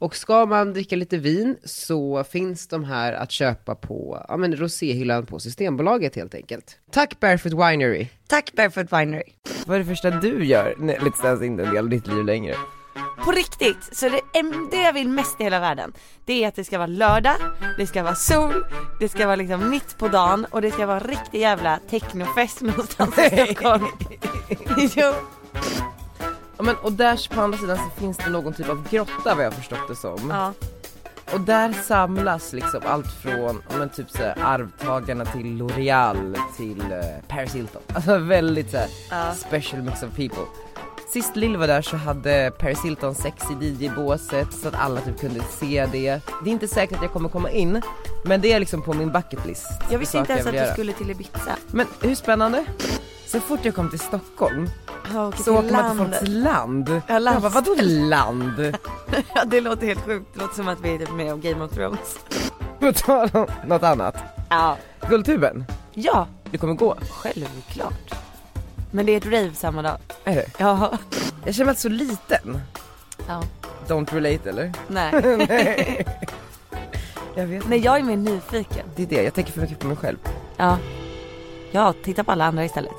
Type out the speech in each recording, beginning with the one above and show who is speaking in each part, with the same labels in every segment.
Speaker 1: Och ska man dricka lite vin så finns de här att köpa på ja, men roséhyllan på Systembolaget helt enkelt. Tack Barefoot Winery!
Speaker 2: Tack Barefoot Winery.
Speaker 1: Vad är det första du gör när Let's Dance inte är en del av ditt liv längre?
Speaker 2: På riktigt, så det, em, det jag vill mest i hela världen, det är att det ska vara lördag, det ska vara sol, det ska vara liksom mitt på dagen och det ska vara en riktig jävla technofest någonstans i Stockholm. jo,
Speaker 1: Ja, men, och där på andra sidan så finns det någon typ av grotta vad jag förstått det som.
Speaker 2: ja.
Speaker 1: Och där samlas liksom allt från ja, men, typ så här, arvtagarna till L'Oreal till eh, Paris Hilton. Alltså väldigt så här, special mix of people. Sist Lill var där så hade Paris Hilton sex i DJ-båset så att alla typ kunde se det. Det är inte säkert att jag kommer komma in men det är liksom på min bucket list.
Speaker 2: Jag visste
Speaker 1: Saker
Speaker 2: inte ens att
Speaker 1: vill
Speaker 2: du
Speaker 1: göra.
Speaker 2: skulle till Ibiza.
Speaker 1: Men hur spännande? Så fort jag kom till Stockholm
Speaker 2: Ja, och
Speaker 1: så åker
Speaker 2: till
Speaker 1: man till
Speaker 2: landet.
Speaker 1: folks land.
Speaker 2: Ja,
Speaker 1: jag bara, vadå land?
Speaker 2: Ja, det låter helt sjukt, det låter som att vi är typ med om Game of Thrones.
Speaker 1: På tal om något annat.
Speaker 2: Ja.
Speaker 1: Guldtuben,
Speaker 2: Ja,
Speaker 1: du kommer gå.
Speaker 2: självklart. Men det är ett rave samma dag.
Speaker 1: Är det?
Speaker 2: Ja.
Speaker 1: Jag känner mig så liten.
Speaker 2: ja.
Speaker 1: Don't relate eller?
Speaker 2: Nej.
Speaker 1: Nej. jag vet
Speaker 2: Nej, jag är mer nyfiken.
Speaker 1: Det är det, jag tänker för mycket på mig själv.
Speaker 2: Ja. Ja, titta på alla andra istället.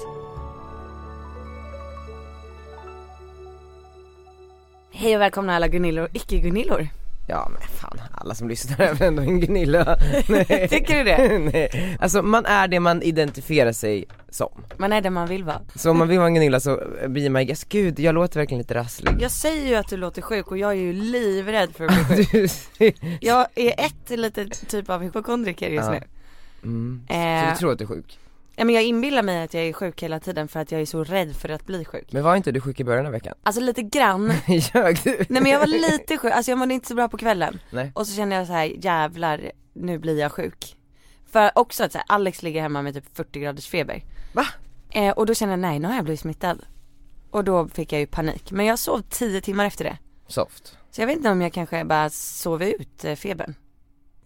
Speaker 2: Hej och välkomna alla Gunillor och icke-Gunillor.
Speaker 1: Ja men fan, alla som lyssnar är väl ändå en Gunilla. Nej.
Speaker 2: Tycker du det?
Speaker 1: Nej. Alltså man är det man identifierar sig som.
Speaker 2: Man är den man vill vara.
Speaker 1: Så om man vill vara en Gunilla så blir man guess, gud jag låter verkligen lite rasslig.
Speaker 2: Jag säger ju att du låter sjuk och jag är ju livrädd för att bli sjuk.
Speaker 1: Du ser-
Speaker 2: Jag är ett litet typ av hypokondriker just
Speaker 1: Ja.
Speaker 2: nu.
Speaker 1: mm. Så
Speaker 2: Eh,
Speaker 1: du tror att du är sjuk?
Speaker 2: ja, men jag inbillar mig att jag är sjuk hela tiden för att jag är så rädd för att bli sjuk.
Speaker 1: Men var inte du sjuk i början av veckan?
Speaker 2: Alltså lite grann.
Speaker 1: Ljög du?
Speaker 2: Nej men jag var lite sjuk, alltså jag mådde inte så bra på kvällen.
Speaker 1: Nej.
Speaker 2: Och så kände jag så här, jävlar nu blir jag sjuk. För också att så här, Alex ligger hemma med typ 40 graders feber.
Speaker 1: Va?
Speaker 2: Eh, och då kände jag nej nu har jag blivit smittad. Och då fick jag ju panik. Men jag sov 10 timmar efter det.
Speaker 1: Soft.
Speaker 2: Så jag vet inte om jag kanske bara sov ut eh, febern.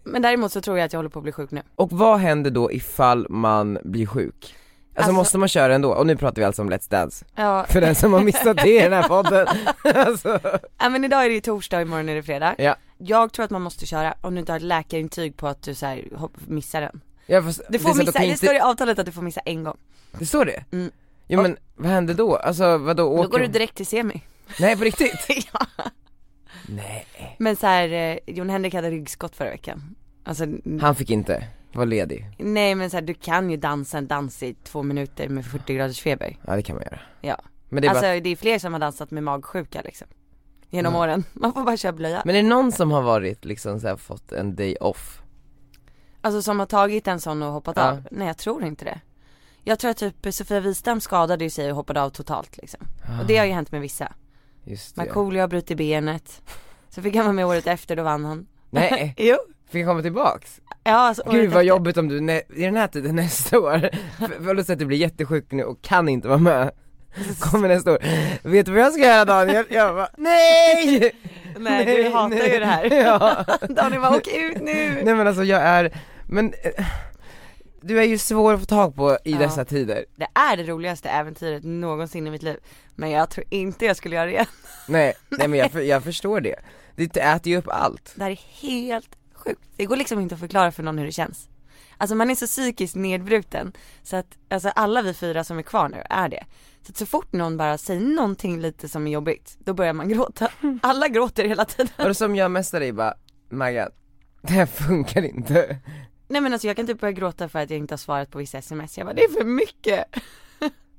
Speaker 2: Men däremot så tror jag att jag håller på att bli sjuk nu.
Speaker 1: Och vad händer då ifall man blir sjuk? Alltså,
Speaker 2: Alltså-
Speaker 1: måste man köra ändå? Och nu pratar vi alltså om Let's Dance,
Speaker 2: Ja,
Speaker 1: för den som har missat det i den här podden. alltså.
Speaker 2: ja men idag är det ju torsdag och imorgon är det fredag.
Speaker 1: Ja.
Speaker 2: Jag tror att man måste köra om du inte har ett läkarintyg på att du så här, hopp- missar den.
Speaker 1: Jag får,
Speaker 2: Du får
Speaker 1: det, är så att
Speaker 2: missa,
Speaker 1: kan
Speaker 2: det
Speaker 1: ju
Speaker 2: står i avtalet att du får missa en gång.
Speaker 1: det står det?
Speaker 2: Mm.
Speaker 1: Jo men vad händer då? Alltså vadå åker
Speaker 2: Då går du direkt till semi.
Speaker 1: Nej på riktigt?
Speaker 2: ja.
Speaker 1: Nej.
Speaker 2: Men så här, eh, Jon Henrik hade ryggskott förra veckan. Alltså, n-
Speaker 1: Han fick inte vara ledig.
Speaker 2: nej men så här, du kan ju dansa en dans i två minuter med 40 graders feber.
Speaker 1: Ja det kan man göra.
Speaker 2: Ja.
Speaker 1: Men det är
Speaker 2: alltså
Speaker 1: bara,
Speaker 2: det är fler som har dansat med magsjuka liksom. Genom
Speaker 1: Mm.
Speaker 2: åren. Man får bara köra blöja.
Speaker 1: men är det någon som har varit liksom så här, fått en day off?
Speaker 2: Alltså som har tagit en sån och hoppat
Speaker 1: Ja.
Speaker 2: av. Nej jag tror inte det. Jag tror att typ Sofia Wistam skadade ju sig och hoppade av totalt liksom. Och det har ju hänt med vissa.
Speaker 1: Ah, Just det.
Speaker 2: Markoolio har brutit benet. Så fick han vara med året efter, då vann han.
Speaker 1: Nej,
Speaker 2: Jo.
Speaker 1: fick jag komma tillbaks?
Speaker 2: Ja, alltså,
Speaker 1: Gud
Speaker 2: året
Speaker 1: vad
Speaker 2: efter.
Speaker 1: jobbigt om du nä- i den här tiden nästa år, för, för att du blir jättesjuk nu och kan inte vara med Kommer nästa år, vet du vad jag ska göra Daniel? Jag bara, nej!
Speaker 2: Nej, du hatar ju det här.
Speaker 1: Ja.
Speaker 2: Daniel bara åk ut nu.
Speaker 1: Nej men alltså jag är, men eh, du är ju svår att få tag på i
Speaker 2: Ja.
Speaker 1: dessa tider
Speaker 2: Det är det roligaste äventyret någonsin i mitt liv. Men jag tror inte jag skulle göra det igen.
Speaker 1: Nej, nej men jag, för- jag förstår det, det äter ju upp allt
Speaker 2: Det här är helt sjukt. Det går liksom inte att förklara för någon hur det känns. Alltså man är så psykiskt nedbruten så att alltså alla vi fyra som är kvar nu är det. Så att så fort någon bara säger någonting lite som är jobbigt, då börjar man gråta. Alla gråter hela tiden.
Speaker 1: Och det som jag mest dig bara, Maggan, det här funkar inte
Speaker 2: Nej men alltså jag kan typ börja gråta för att jag inte har svarat på vissa sms. Jag bara det är för mycket.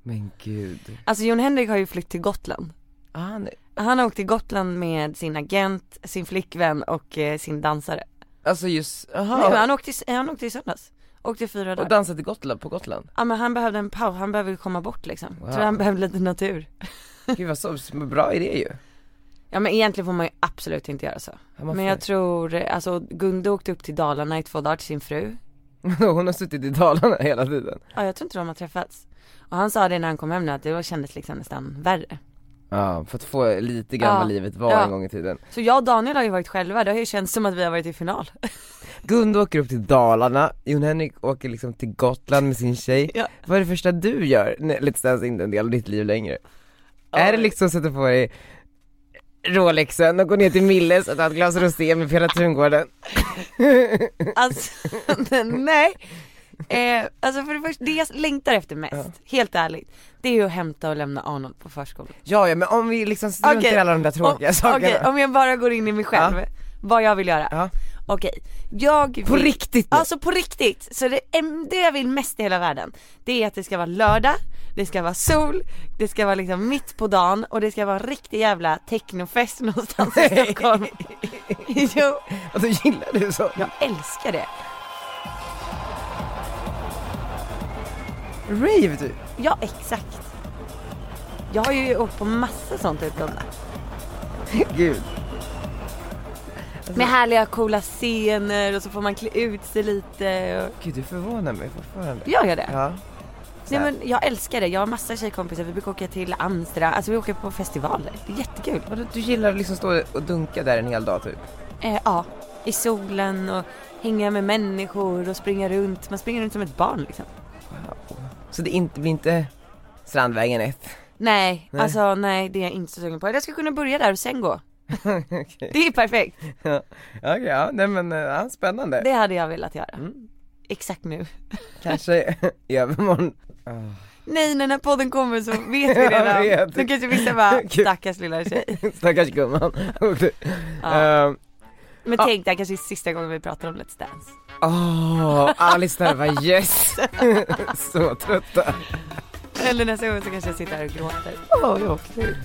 Speaker 1: Men gud,
Speaker 2: Alltså Jon Henrik har ju flytt till Gotland.
Speaker 1: ah, nej.
Speaker 2: Han har åkt till Gotland med sin agent, sin flickvän och eh, sin dansare.
Speaker 1: alltså just, aha.
Speaker 2: Nej, men han, åkte, i- han åkte i söndags. Åkte i fyra
Speaker 1: och
Speaker 2: dagar.
Speaker 1: dansa till Gotland, på Gotland
Speaker 2: Ja men han behövde en paus, han behövde komma bort liksom.
Speaker 1: Wow.
Speaker 2: Tror han behövde lite natur.
Speaker 1: Gud vad så, så bra idé ju.
Speaker 2: Ja Ja men egentligen får man ju absolut inte göra så.
Speaker 1: Ja, man
Speaker 2: Men
Speaker 1: får-
Speaker 2: jag tror, alltså Gunde åkte upp till Dalarna i två dagar till sin fru.
Speaker 1: Hon har suttit i Dalarna hela tiden.
Speaker 2: Ja jag tror inte de har träffats. Och han sa det när han kom hem nu att det kändes liksom nästan värre.
Speaker 1: Ja, för att få lite grann
Speaker 2: Ja.
Speaker 1: vad livet var
Speaker 2: Ja.
Speaker 1: en gång i tiden.
Speaker 2: Så jag och Daniel har ju varit själva, det har ju känts som att vi har varit i final.
Speaker 1: Gunde åker upp till Dalarna, Jon Henrik åker liksom till Gotland med sin tjej.
Speaker 2: Ja.
Speaker 1: Vad är det första du gör? Nej, Let's Dance är inte en del av ditt liv längre. Är det liksom att sätta på dig Rolexen och gå ner till Milles och ta ett glas rosé med Pela Tungården?
Speaker 2: Alltså, nej. Eh, alltså för det första, det jag längtar efter mest, helt ärligt, det är ju att hämta och lämna Arnold på förskolan.
Speaker 1: Ja, ja men om vi liksom struntar
Speaker 2: Okej.
Speaker 1: i alla de där
Speaker 2: Om-
Speaker 1: tråkiga sakerna.
Speaker 2: Okej, om jag bara går in i mig själv, vad jag vill göra.
Speaker 1: Ja.
Speaker 2: Okej, jag
Speaker 1: På
Speaker 2: vill...
Speaker 1: riktigt nu.
Speaker 2: Alltså på riktigt, så det, em, det jag vill mest i hela världen, det är att det ska vara lördag, det ska vara sol, det ska vara liksom mitt på dagen och det ska vara en riktig jävla technofest någonstans i Stockholm. jo,
Speaker 1: Alltså gillar du så?
Speaker 2: jag älskar det.
Speaker 1: Rave du?
Speaker 2: Ja, exakt. Jag har ju åkt på massa sånt utomlands.
Speaker 1: Gud. Alltså-
Speaker 2: Med härliga coola scener och så får man klä ut sig lite och...
Speaker 1: Gud du förvånar mig fortfarande.
Speaker 2: Jag gör det.
Speaker 1: Ja.
Speaker 2: Nej men jag älskar det. Jag har massa tjejkompisar. Vi brukar åka till Amsterdam. Alltså vi åker på festivaler. Det är jättekul.
Speaker 1: Vadå, du gillar att liksom stå och dunka där en hel dag typ?
Speaker 2: Eh, ja, i solen och hänga med människor och springa runt. Man springer runt som ett barn liksom.
Speaker 1: Så det inte, blir inte Strandvägen 1?
Speaker 2: Nej,
Speaker 1: Nej.
Speaker 2: alltså nej det är jag inte så sugen på. Jag ska kunna börja där och sen gå.
Speaker 1: Okej.
Speaker 2: Det är perfekt.
Speaker 1: Okej, ja, nej men eh, ja, spännande.
Speaker 2: Det hade jag velat göra.
Speaker 1: Mm.
Speaker 2: Exakt nu.
Speaker 1: Kanske i övermorgon. Ah,
Speaker 2: Nej, när den här podden kommer så vet vi
Speaker 1: Jag
Speaker 2: redan.
Speaker 1: vet.
Speaker 2: Då kanske vissa bara,
Speaker 1: Gud.
Speaker 2: stackars lilla tjej.
Speaker 1: Stackars gumman.
Speaker 2: Ja.
Speaker 1: Ehm,
Speaker 2: Men
Speaker 1: Ja.
Speaker 2: tänk det här kanske är sista gången vi pratar om Let's Dance.
Speaker 1: Åh, Alice där var yes! Så trötta.
Speaker 2: Eller nästa gång så kanske jag sitter här och gråter.
Speaker 1: Åh, jag åkte ut.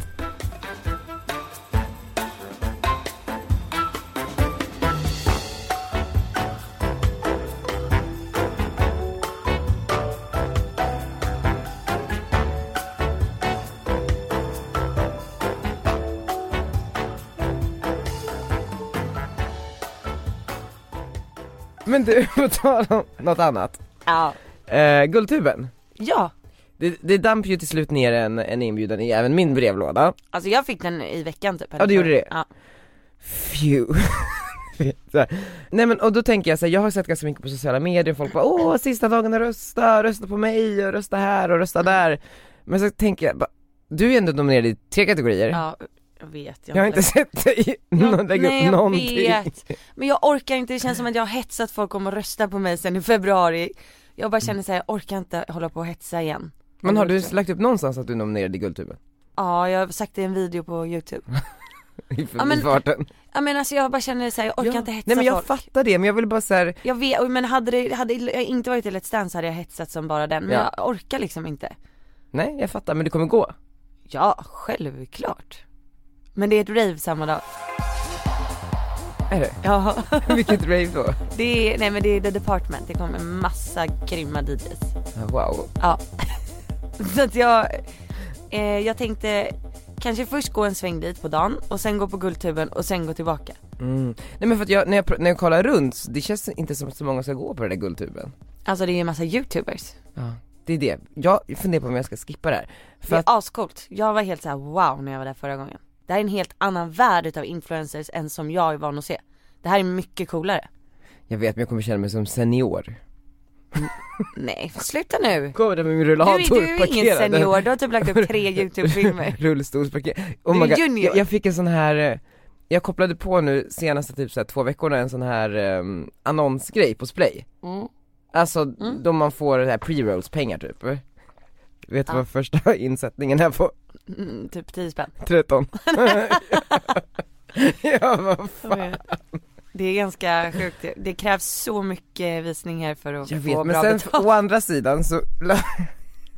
Speaker 1: Men du, på tal om något annat.
Speaker 2: Ja.
Speaker 1: Eh, guldtuben.
Speaker 2: Ja,
Speaker 1: Det, det damp ju till slut ner en, en inbjudan i även min brevlåda.
Speaker 2: alltså jag fick den i veckan typ.
Speaker 1: Ja, du gjorde det.
Speaker 2: Ja.
Speaker 1: Phew. Så här. Nej men och då tänker jag så här, jag har sett ganska mycket på sociala medier, folk bara åh sista dagen att rösta, rösta på mig och rösta här och rösta där. Men så tänker jag, bara, du är ändå nominerad i tre kategorier.
Speaker 2: ja, jag vet.
Speaker 1: Jag har inte sett dig någon- lägga
Speaker 2: Nej,
Speaker 1: upp
Speaker 2: jag
Speaker 1: någonting.
Speaker 2: vet. Men jag orkar inte, det känns som att jag har hetsat folk om att rösta på mig sen i februari. Jag bara känner såhär, jag orkar inte hålla på och hetsa igen.
Speaker 1: Men har du lagt upp någonstans att du är nominerad i Guldtuben?
Speaker 2: Ja, jag har sagt det i en video på youtube.
Speaker 1: I
Speaker 2: Ja, men-
Speaker 1: förbifarten.
Speaker 2: Ja men alltså jag bara känner såhär, jag orkar
Speaker 1: Ja.
Speaker 2: inte hetsa
Speaker 1: Nej men jag
Speaker 2: folk.
Speaker 1: fattar det, men jag vill bara så här,
Speaker 2: Jag vet, men hade, det, hade jag inte varit i Let's Dance hade jag hetsat som bara den, men
Speaker 1: Ja.
Speaker 2: jag orkar liksom inte.
Speaker 1: nej jag fattar men det kommer gå.
Speaker 2: Ja, självklart. Men det är ett rave samma dag.
Speaker 1: Är det?
Speaker 2: Ja,
Speaker 1: Vilket rave då?
Speaker 2: det är, nej men det är The Department, det kommer en massa grymma DJs.
Speaker 1: Wow.
Speaker 2: Ja. Så att jag, eh, jag tänkte kanske först gå en sväng dit på dagen och sen gå på Guldtuben och sen gå tillbaka.
Speaker 1: Mm. Nej men för att jag, när jag, pr- när jag kollar runt, så- det känns inte som att så många ska gå på den där guldtuben.
Speaker 2: Alltså det är ju en massa youtubers.
Speaker 1: Ja. Det är det, jag funderar på om jag ska skippa det här.
Speaker 2: Det
Speaker 1: För
Speaker 2: är
Speaker 1: att,
Speaker 2: ascoolt. Jag var helt så här: wow när jag var där förra gången. Det här är en helt annan värld utav influencers än som jag är van att se. Det här är mycket coolare.
Speaker 1: jag vet men jag kommer känna mig som senior.
Speaker 2: Nej, sluta nu.
Speaker 1: Kommer där med min
Speaker 2: Du,
Speaker 1: rullator
Speaker 2: är- du är ju ingen
Speaker 1: parkerad.
Speaker 2: senior, du har typ lagt upp tre youtube-filmer.
Speaker 1: Rullstolsparkerad.
Speaker 2: Du
Speaker 1: Oh
Speaker 2: är
Speaker 1: my God.
Speaker 2: junior.
Speaker 1: Jag, jag fick en sån här, eh, jag kopplade på nu senaste typ så här, två veckorna en sån här ehm, annonsgrej på Splay.
Speaker 2: Mm.
Speaker 1: Alltså då man får det här pre-rolls pengar typ. Vet du
Speaker 2: Ja.
Speaker 1: vad första insättningen är på?
Speaker 2: Mm, typ 10 spänn.
Speaker 1: 13 Ja vad fan
Speaker 2: Det är ganska sjukt. Det- Det krävs så mycket visningar för att
Speaker 1: Jag
Speaker 2: få
Speaker 1: vet men
Speaker 2: bra
Speaker 1: sen
Speaker 2: betalt.
Speaker 1: å andra sidan så la-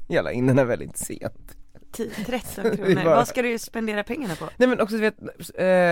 Speaker 1: Jag la in den här väldigt sent
Speaker 2: 10, 13 kronor,
Speaker 1: bara-
Speaker 2: vad ska du spendera pengarna på?
Speaker 1: Nej men också du vet,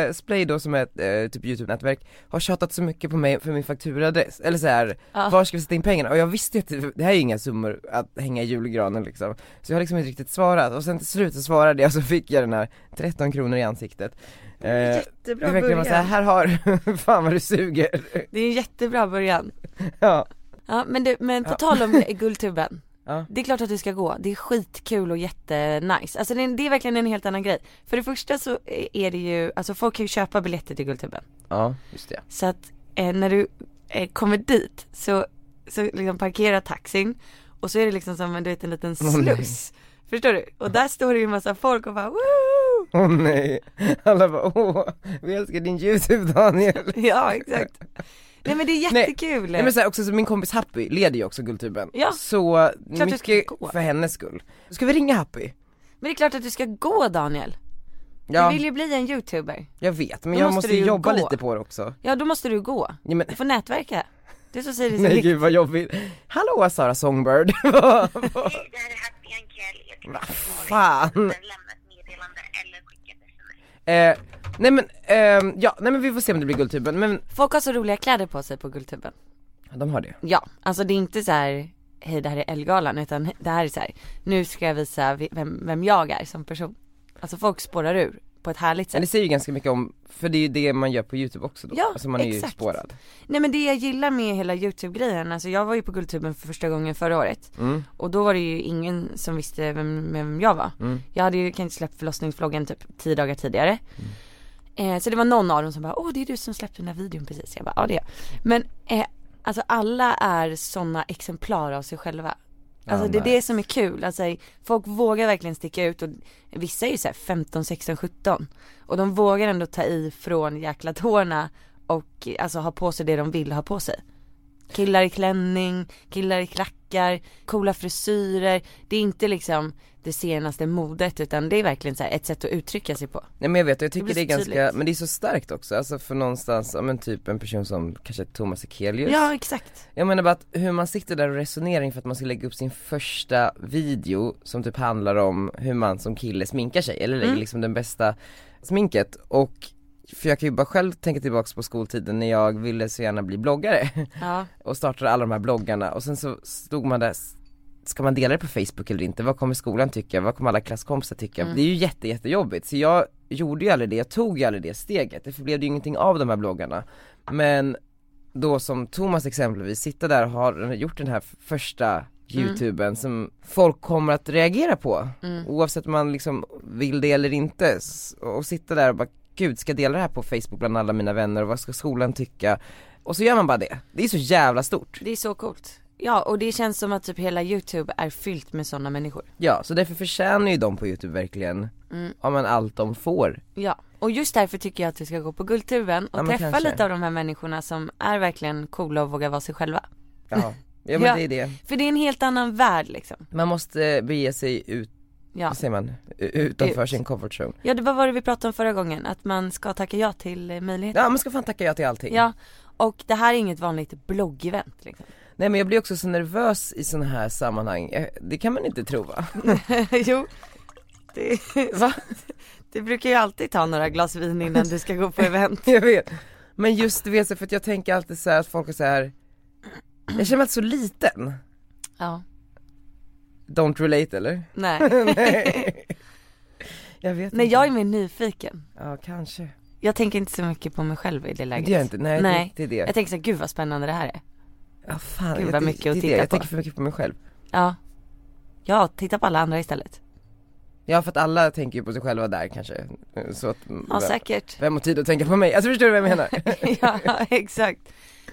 Speaker 1: eh, Splay då som är ett eh, typ YouTube-nätverk har tjatat så mycket på mig för min fakturaadress, eller så här,
Speaker 2: Ja.
Speaker 1: var ska vi sätta in pengarna? Och jag visste ju att det här är ju inga summor att hänga i julgranen liksom Så jag har liksom inte riktigt svarat och sen till slut så svarade jag så fick jag den här 13 kronor i ansiktet eh, Det
Speaker 2: Jättebra
Speaker 1: verkligen var
Speaker 2: början.
Speaker 1: såhär, här har du, fan vad du suger
Speaker 2: Det är en jättebra början.
Speaker 1: Ja,
Speaker 2: Ja men du, men på
Speaker 1: Ja.
Speaker 2: tal om Guldtuben.
Speaker 1: Ja.
Speaker 2: Det är klart att du ska gå, det är skitkul och jättenice. Alltså det är, det är verkligen en helt annan grej. För det första så är det ju, alltså folk kan ju köpa biljetter till Guldtuben.
Speaker 1: ja just det
Speaker 2: Så att eh, när du eh, kommer dit så, så liksom parkerar taxin och så är det liksom som en, du vet, en liten
Speaker 1: Åh, nej.
Speaker 2: sluss. Förstår du? Och där står det ju en massa folk och bara Woo!
Speaker 1: Åh nej, alla bara åh, vi älskar din YouTube Daniel
Speaker 2: Ja exakt. Nej men det är
Speaker 1: Nej.
Speaker 2: jättekul.
Speaker 1: Nej men så här, också så min kompis Happy leder ju också Guldtuben,
Speaker 2: Ja.
Speaker 1: så
Speaker 2: ska
Speaker 1: mycket
Speaker 2: gå.
Speaker 1: för hennes skull. Ska vi ringa Happy?
Speaker 2: men det är klart att du ska gå Daniel.
Speaker 1: Ja,
Speaker 2: Du vill ju bli en youtuber.
Speaker 1: jag vet men
Speaker 2: Då
Speaker 1: jag
Speaker 2: måste
Speaker 1: måste
Speaker 2: du ju
Speaker 1: jobba
Speaker 2: gå.
Speaker 1: lite på det också.
Speaker 2: Ja då måste du gå.
Speaker 1: Ja, men,
Speaker 2: Du får nätverka. Det är så säger det så
Speaker 1: nej
Speaker 2: mycket.
Speaker 1: gud vad jobbigt. Hallå Sara Songbird, Vad- vad
Speaker 3: Hej, det här är Happy Ankell. Jag tycker att
Speaker 1: fan.
Speaker 3: lämna ett meddelande eller skicka ett sms.
Speaker 1: Eh, nej men, ehm, ja, nej men vi får se om det blir Guldtuben, men
Speaker 2: Folk har så roliga kläder på sig på Guldtuben.
Speaker 1: de har det.
Speaker 2: Ja, alltså det är inte så här hej det här är Ellegalan utan det här är så här nu ska jag visa vi- vem, vem jag är som person. Alltså folk spårar ur på ett härligt
Speaker 1: Men
Speaker 2: sätt.
Speaker 1: det säger ju ganska mycket om, för det är ju det man gör på YouTube också då.
Speaker 2: Ja,
Speaker 1: alltså man är
Speaker 2: exakt.
Speaker 1: ju spårad.
Speaker 2: Nej men det jag gillar med hela YouTube-grejen, alltså jag var ju på Guldtuben för första gången förra året
Speaker 1: Mm,
Speaker 2: och då var det ju ingen som visste vem, vem jag var.
Speaker 1: mm.
Speaker 2: Jag hade ju kanske släppt förlossningsvloggen typ tio dagar tidigare. Eh, så det var någon av dem som bara, åh det är du som släppte den här videon precis. Jag bara, ja det är jag. Men eh, alltså alla är sådana exemplar av sig själva. Alltså det är det som är kul, alltså folk vågar verkligen sticka ut och vissa är ju såhär 15, 16, 17 och de vågar ändå ta i från jäkla tårna och eh, alltså ha på sig det de vill ha på sig. Killar i klänning, killar i klackar, coola frisyrer, det är inte liksom det senaste modet utan det är verkligen så här ett sätt att uttrycka sig på.
Speaker 1: Nej men jag vet, jag tycker
Speaker 2: blir
Speaker 1: det, är
Speaker 2: så
Speaker 1: ganska,
Speaker 2: tydligt.
Speaker 1: men det är så starkt också, alltså för någonstans, ja men typ en person som kanske Thomas Ekelius
Speaker 2: Ja exakt.
Speaker 1: Jag menar bara att hur man sitter där och resonerar inför att man ska lägga upp sin första video som typ handlar om hur man som kille sminkar sig eller
Speaker 2: Mm.
Speaker 1: lägger liksom den bästa sminket och för jag kan ju bara själv tänka tillbaks på skoltiden när jag ville så gärna bli bloggare
Speaker 2: Ja.
Speaker 1: och startade alla de här bloggarna och sen så stod man där, s- ska man dela det på Facebook eller inte? Vad kommer skolan tycka? Vad kommer alla klasskompisar tycka? Det är ju jätte, jättejobbigt. Så jag gjorde ju aldrig det, jag tog ju aldrig det steget. Det blev ju ingenting av de här bloggarna. Men då som Thomas exempelvis, sitta där och ha gjort den här f- första youtuben som folk kommer att reagera på. Oavsett om man liksom vill det eller inte. S- Och sitta där och bara, gud ska jag dela det här på Facebook bland alla mina vänner och vad ska skolan tycka? Och så gör man bara det. Det är så jävla stort.
Speaker 2: Det är så coolt. Ja och det känns som att typ hela youtube är fyllt med sådana människor.
Speaker 1: Ja, så därför förtjänar ju de på youtube verkligen,
Speaker 2: Mm.
Speaker 1: ja men allt de får.
Speaker 2: Ja, och just därför tycker jag att du ska gå på Guldtuben och
Speaker 1: Ja, men
Speaker 2: träffa
Speaker 1: kanske.
Speaker 2: lite av de här människorna som är verkligen coola och vågar vara sig själva.
Speaker 1: Ja, ja men
Speaker 2: Ja.
Speaker 1: det är det.
Speaker 2: För det är en helt annan värld liksom.
Speaker 1: Man måste eh, bege sig ut,
Speaker 2: Ja,
Speaker 1: vad säger man, U- utanför
Speaker 2: Ut.
Speaker 1: sin comfort zone.
Speaker 2: ja det var vad vi pratade om förra gången, att man ska tacka ja till eh, möjligheten.
Speaker 1: Ja man ska fan tacka ja till allting.
Speaker 2: Ja, och det här är inget vanligt bloggevent liksom.
Speaker 1: Nej men jag blir också så nervös i sådana här sammanhang, Eh, det kan man inte tro va?
Speaker 2: jo, det,
Speaker 1: va?
Speaker 2: det brukar ju alltid ta några glas vin innan du ska gå på event.
Speaker 1: Jag vet. Men just du vet så för att jag tänker alltid så här att folk är så här. jag känner mig alltid så liten.
Speaker 2: Ja,
Speaker 1: Don't relate eller?
Speaker 2: nej.
Speaker 1: Nej. Jag vet
Speaker 2: Nej
Speaker 1: inte.
Speaker 2: jag är mer nyfiken.
Speaker 1: Ja kanske.
Speaker 2: Jag tänker inte så mycket på mig själv i det läget.
Speaker 1: Det gör jag inte, nej,
Speaker 2: Nej.
Speaker 1: Det, det är det.
Speaker 2: Jag tänker så här, gud vad spännande det här är.
Speaker 1: Ja fan,
Speaker 2: Gud,
Speaker 1: jag-
Speaker 2: vad
Speaker 1: det-
Speaker 2: mycket
Speaker 1: det är
Speaker 2: att titta
Speaker 1: det. Jag
Speaker 2: på.
Speaker 1: tänker för mycket på mig själv.
Speaker 2: Ja. Ja, titta på alla andra istället.
Speaker 1: Ja för att alla tänker ju på sig själva där kanske, så att
Speaker 2: Ja, säkert.
Speaker 1: vem har tid att tänka på mig? Alltså förstår du vad jag menar?
Speaker 2: ja, exakt.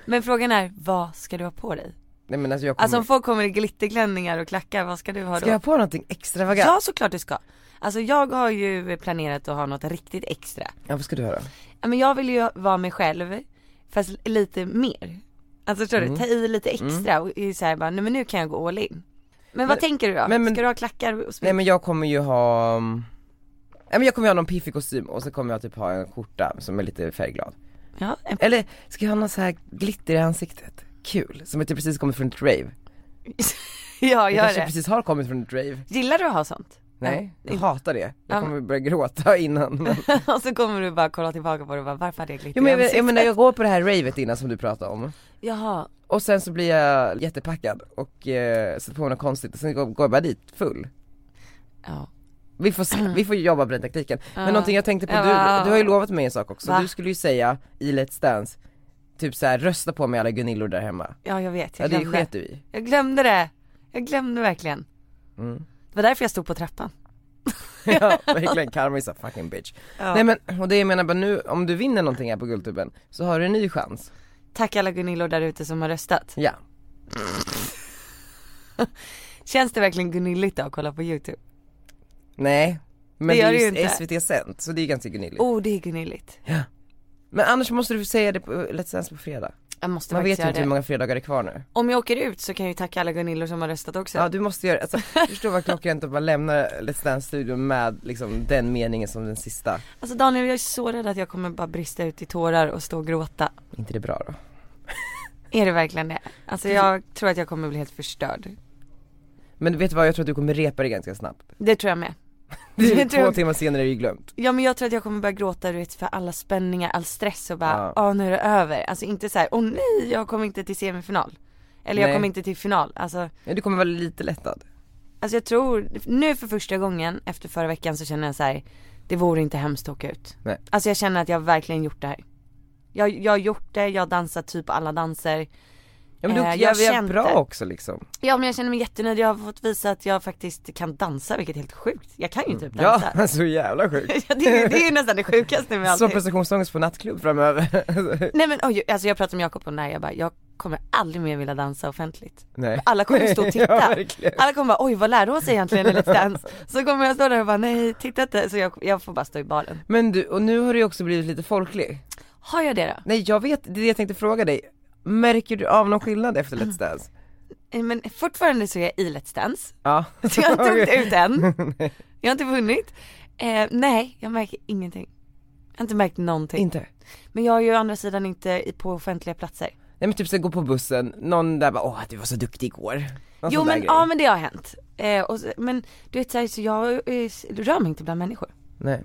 Speaker 2: Men frågan är, vad ska du ha på dig?
Speaker 1: Nej men alltså jag kommer...
Speaker 2: Alltså om folk kommer i glitterklänningar och klackar, vad ska du ha då?
Speaker 1: Ska jag ha på någonting extravagant?
Speaker 2: Ja, såklart du ska. Alltså jag har ju planerat att ha något riktigt extra.
Speaker 1: Ja vad ska du ha då?
Speaker 2: Ja, Men jag vill ju vara mig själv, fast lite mer. Alltså förstår
Speaker 1: Mm.
Speaker 2: du, ta i lite extra och är så här bara, nej men nu kan jag gå all in. Men, vad tänker du då?
Speaker 1: men- men-
Speaker 2: ska du ha klackar och smink?
Speaker 1: Nej men jag kommer ju ha, mm, nej men jag kommer ju ha någon piffig kostym och så kommer jag typ ha en skjorta som är lite färgglad.
Speaker 2: Ja, en...
Speaker 1: Eller ska jag ha någon så här glitter i ansiktet? Kul, som inte precis kommit från ett rave.
Speaker 2: ja
Speaker 1: Jag
Speaker 2: gör
Speaker 1: kanske
Speaker 2: det.
Speaker 1: precis har kommit från ett rave.
Speaker 2: Gillar du att ha sånt?
Speaker 1: Nej, jag
Speaker 2: inte.
Speaker 1: hatar det.
Speaker 2: Ja.
Speaker 1: Jag kommer börja gråta innan. Men...
Speaker 2: och så kommer du bara kolla tillbaka på det och bara varför hade jag glitter
Speaker 1: Jo men jag,
Speaker 2: i
Speaker 1: vet- jag
Speaker 2: ansiktet?
Speaker 1: menar jag går på det här ravet innan som du pratade om
Speaker 2: Jaha,
Speaker 1: och sen så blir jag jättepackad och eh, sätter på mig något konstigt och sen går, går jag bara dit full.
Speaker 2: ja.
Speaker 1: Vi får, se- vi får jobba på den taktiken. Men
Speaker 2: Ja.
Speaker 1: någonting jag tänkte på,
Speaker 2: Ja,
Speaker 1: du,
Speaker 2: va?
Speaker 1: du har ju lovat mig en sak också,
Speaker 2: Va?
Speaker 1: du skulle ju säga i Let's Dance Typ såhär, rösta på mig alla Gunillor där hemma.
Speaker 2: ja jag vet,
Speaker 1: Ja
Speaker 2: jag
Speaker 1: det
Speaker 2: glömde.
Speaker 1: sket du i.
Speaker 2: Jag glömde det. Jag glömde verkligen.
Speaker 1: Mm.
Speaker 2: Det var därför jag stod på trappan.
Speaker 1: ja verkligen, Karma is a fucking bitch.
Speaker 2: Ja.
Speaker 1: Nej men, och det jag menar bara nu, om du vinner någonting här på Guldtuben så har du en ny chans.
Speaker 2: Tack alla Gunillor där ute som har röstat.
Speaker 1: Ja.
Speaker 2: Känns det verkligen Gunilligt då att kolla på YouTube?
Speaker 1: Nej. Men
Speaker 2: Det
Speaker 1: det,
Speaker 2: gör
Speaker 1: är
Speaker 2: det
Speaker 1: ju
Speaker 2: ju inte.
Speaker 1: SVT sänt så det är ganska gunilligt.
Speaker 2: Oh det är Gunilligt.
Speaker 1: Men annars måste du säga det på Let's Dance på fredag.
Speaker 2: Jag måste
Speaker 1: Man vet
Speaker 2: faktiskt
Speaker 1: ju
Speaker 2: göra
Speaker 1: inte hur
Speaker 2: det.
Speaker 1: många fredagar det är kvar nu.
Speaker 2: Om jag åker ut så kan jag ju tacka alla Gunillor som har röstat också.
Speaker 1: Ja du måste göra, alltså förstå vad klockrent att bara lämna Let's Dance-studion med liksom den meningen som den sista.
Speaker 2: Alltså Daniel jag är så rädd att jag kommer bara brista ut i tårar och stå och gråta.
Speaker 1: inte det bra då?
Speaker 2: Är det verkligen det? Alltså jag tror att jag kommer bli helt förstörd.
Speaker 1: Men vet du vad, jag tror att du kommer repa det ganska snabbt.
Speaker 2: Det tror jag med.
Speaker 1: Det är
Speaker 2: Jag tror-
Speaker 1: två timmar senare är det ju glömt.
Speaker 2: Ja men jag tror att jag kommer börja gråta du vet för alla spänningar, all stress och bara
Speaker 1: Ja.
Speaker 2: ja nu är det över. Alltså inte så här, åh nej jag kommer inte till semifinal. Eller jag
Speaker 1: Nej.
Speaker 2: kommer inte till final. Alltså,
Speaker 1: Men du kommer vara lite lättad.
Speaker 2: alltså jag tror, nu för första gången efter förra veckan så känner jag så här, det vore inte hemskt att åka ut.
Speaker 1: Nej.
Speaker 2: Alltså jag känner att jag verkligen gjort det här. Jag, jag har gjort det, jag har dansat typ alla danser.
Speaker 1: Ja men du
Speaker 2: Eh,
Speaker 1: äh,
Speaker 2: jag
Speaker 1: jag är
Speaker 2: känt
Speaker 1: bra
Speaker 2: det.
Speaker 1: också liksom.
Speaker 2: Ja men jag känner mig jättenöjd, jag har fått visa att jag faktiskt kan dansa vilket är helt sjukt. Jag kan ju typ dansa.
Speaker 1: Mm. Ja, så jävla sjukt.
Speaker 2: Ja. det, är ju- det är ju nästan det sjukaste med
Speaker 1: Som
Speaker 2: allting.
Speaker 1: prestationsångest på nattklubb framöver.
Speaker 2: Nej men oj, alltså jag pratade med Jakob och när jag bara, jag kommer aldrig mer vilja dansa offentligt.
Speaker 1: Nej.
Speaker 2: Alla kommer stå och
Speaker 1: ja,
Speaker 2: titta.
Speaker 1: verkligen.
Speaker 2: Alla kommer bara, oj vad lärde hon sig egentligen i Let's Dance? Så kommer jag stå där och bara, nej titta inte. Så jag, jag får bara stå i baren.
Speaker 1: Men du, och nu har du ju också blivit lite folklig.
Speaker 2: Har jag det då?
Speaker 1: Nej jag vet, det är det jag tänkte fråga dig. Märker du av någon skillnad efter Let's Dance?
Speaker 2: Eh, Men fortfarande så är jag i Let's Dance.
Speaker 1: Ja.
Speaker 2: Så jag har inte åkt ut än. Jag har inte vunnit. Eh, nej, jag märker ingenting. Jag har inte märkt någonting.
Speaker 1: Inte?
Speaker 2: Men jag är ju å andra sidan inte i- på offentliga platser.
Speaker 1: Nej men typ så gå på bussen, någon där bara åh du var så duktig igår. Någon
Speaker 2: Jo
Speaker 1: sån där
Speaker 2: men
Speaker 1: grej.
Speaker 2: ja men det har hänt. Eh, och, så- men du vet såhär, så jag eh, rör mig inte bland människor.
Speaker 1: Nej.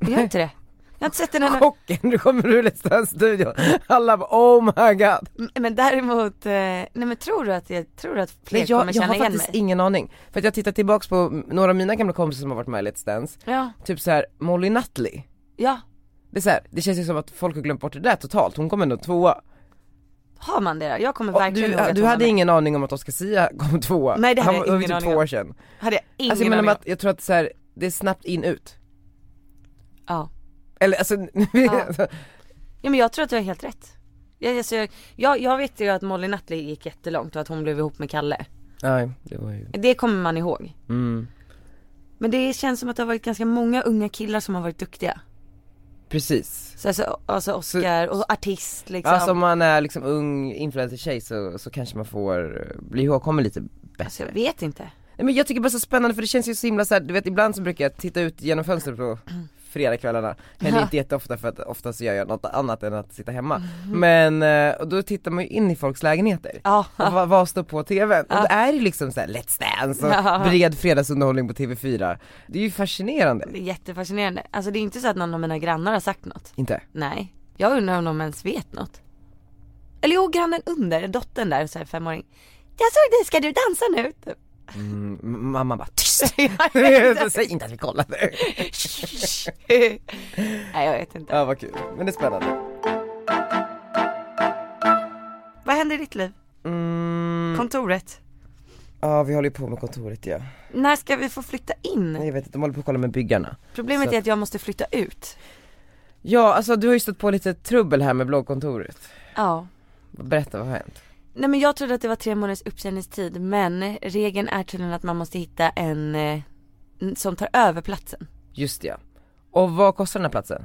Speaker 2: Jag gör inte det. Jag har inte sett en annan.
Speaker 1: Chocken, nu kommer du Let's Dance-studion. Alla bara oh my god.
Speaker 2: Men däremot, eh, nej men tror du att, jag, tror du att fler
Speaker 1: Nej jag,
Speaker 2: kommer
Speaker 1: jag
Speaker 2: känna
Speaker 1: har
Speaker 2: igen
Speaker 1: faktiskt
Speaker 2: mig?
Speaker 1: ingen aning. För att jag tittar tillbaks på mm, några av mina gamla kompisar som har varit med i Let's Dance,
Speaker 2: Ja,
Speaker 1: typ så här Molly Nutley.
Speaker 2: ja.
Speaker 1: Det, är så här, det känns ju som att folk har glömt bort det där totalt, hon kom ändå tvåa.
Speaker 2: Har man det då? Jag kommer
Speaker 1: Och
Speaker 2: verkligen
Speaker 1: du
Speaker 2: ihåg att
Speaker 1: du
Speaker 2: hon var
Speaker 1: hade
Speaker 2: med.
Speaker 1: ingen aning om att Oscar Sia kom tvåa?
Speaker 2: Nej, det hade
Speaker 1: Han
Speaker 2: jag
Speaker 1: var- det var
Speaker 2: ingen
Speaker 1: typ
Speaker 2: aning
Speaker 1: två
Speaker 2: om.
Speaker 1: år sedan.
Speaker 2: Hade jag ingen
Speaker 1: Alltså jag menar
Speaker 2: aning
Speaker 1: med
Speaker 2: om.
Speaker 1: att jag tror att så här, det är snabbt in ut.
Speaker 2: Ja.
Speaker 1: Eller alltså,
Speaker 2: Ja. ja men jag tror att du har helt rätt. Jag, alltså, jag, jag, jag vet ju att Molly Nutley gick jättelångt och att hon blev ihop med Kalle.
Speaker 1: nej det var ju,
Speaker 2: Det kommer man ihåg.
Speaker 1: mm.
Speaker 2: Men det känns som att det har varit ganska många unga killar som har varit duktiga.
Speaker 1: precis.
Speaker 2: Så alltså, alltså Oscar och artist liksom.
Speaker 1: Alltså om man är liksom ung influencer-tjej så, så kanske man får eh, bli ihågkommen lite
Speaker 2: alltså
Speaker 1: bättre.
Speaker 2: jag vet inte.
Speaker 1: Nej men jag tycker bara så spännande för det känns ju så himla så här, du vet ibland så brukar jag titta ut genom fönstret på fredagskvällarna, händer inte jätteofta för att oftast gör jag något annat än att sitta hemma.
Speaker 2: Mm.
Speaker 1: Men, eh, och då tittar man ju in i folks lägenheter.
Speaker 2: Ja.
Speaker 1: Och vad, vad står på tvn? Och det är ju liksom såhär Let's Dance och bred fredagsunderhållning på TV4. Det är ju fascinerande.
Speaker 2: Det är jättefascinerande. Alltså det är inte så att någon av mina grannar har sagt något.
Speaker 1: Inte?
Speaker 2: Nej. Jag undrar om de ens vet något. Eller jo, grannen under, dottern där, så här femåring. Jag såg dig, ska du dansa nu? Typ.
Speaker 1: Mm, m- mamma bara tyst!
Speaker 2: Ja, exakt.
Speaker 1: Säg inte att vi kollade.
Speaker 2: Nej jag vet inte.
Speaker 1: Ja vad kul, men det är spännande.
Speaker 2: Vad händer i ditt liv?
Speaker 1: Mm,
Speaker 2: Kontoret?
Speaker 1: ja vi håller ju på med kontoret ja.
Speaker 2: När ska vi få flytta
Speaker 1: Nej,
Speaker 2: in?
Speaker 1: jag vet inte, de håller på att kolla med byggarna.
Speaker 2: Problemet
Speaker 1: så-
Speaker 2: är att jag måste flytta ut.
Speaker 1: Ja alltså du har ju stött på lite trubbel här med bloggkontoret.
Speaker 2: Ja.
Speaker 1: Berätta vad har hänt?
Speaker 2: Nej men jag trodde att det var tre månaders uppsägningstid men regeln är tydligen att man måste hitta en eh, som tar över platsen.
Speaker 1: Just ja. Och vad kostar den här platsen?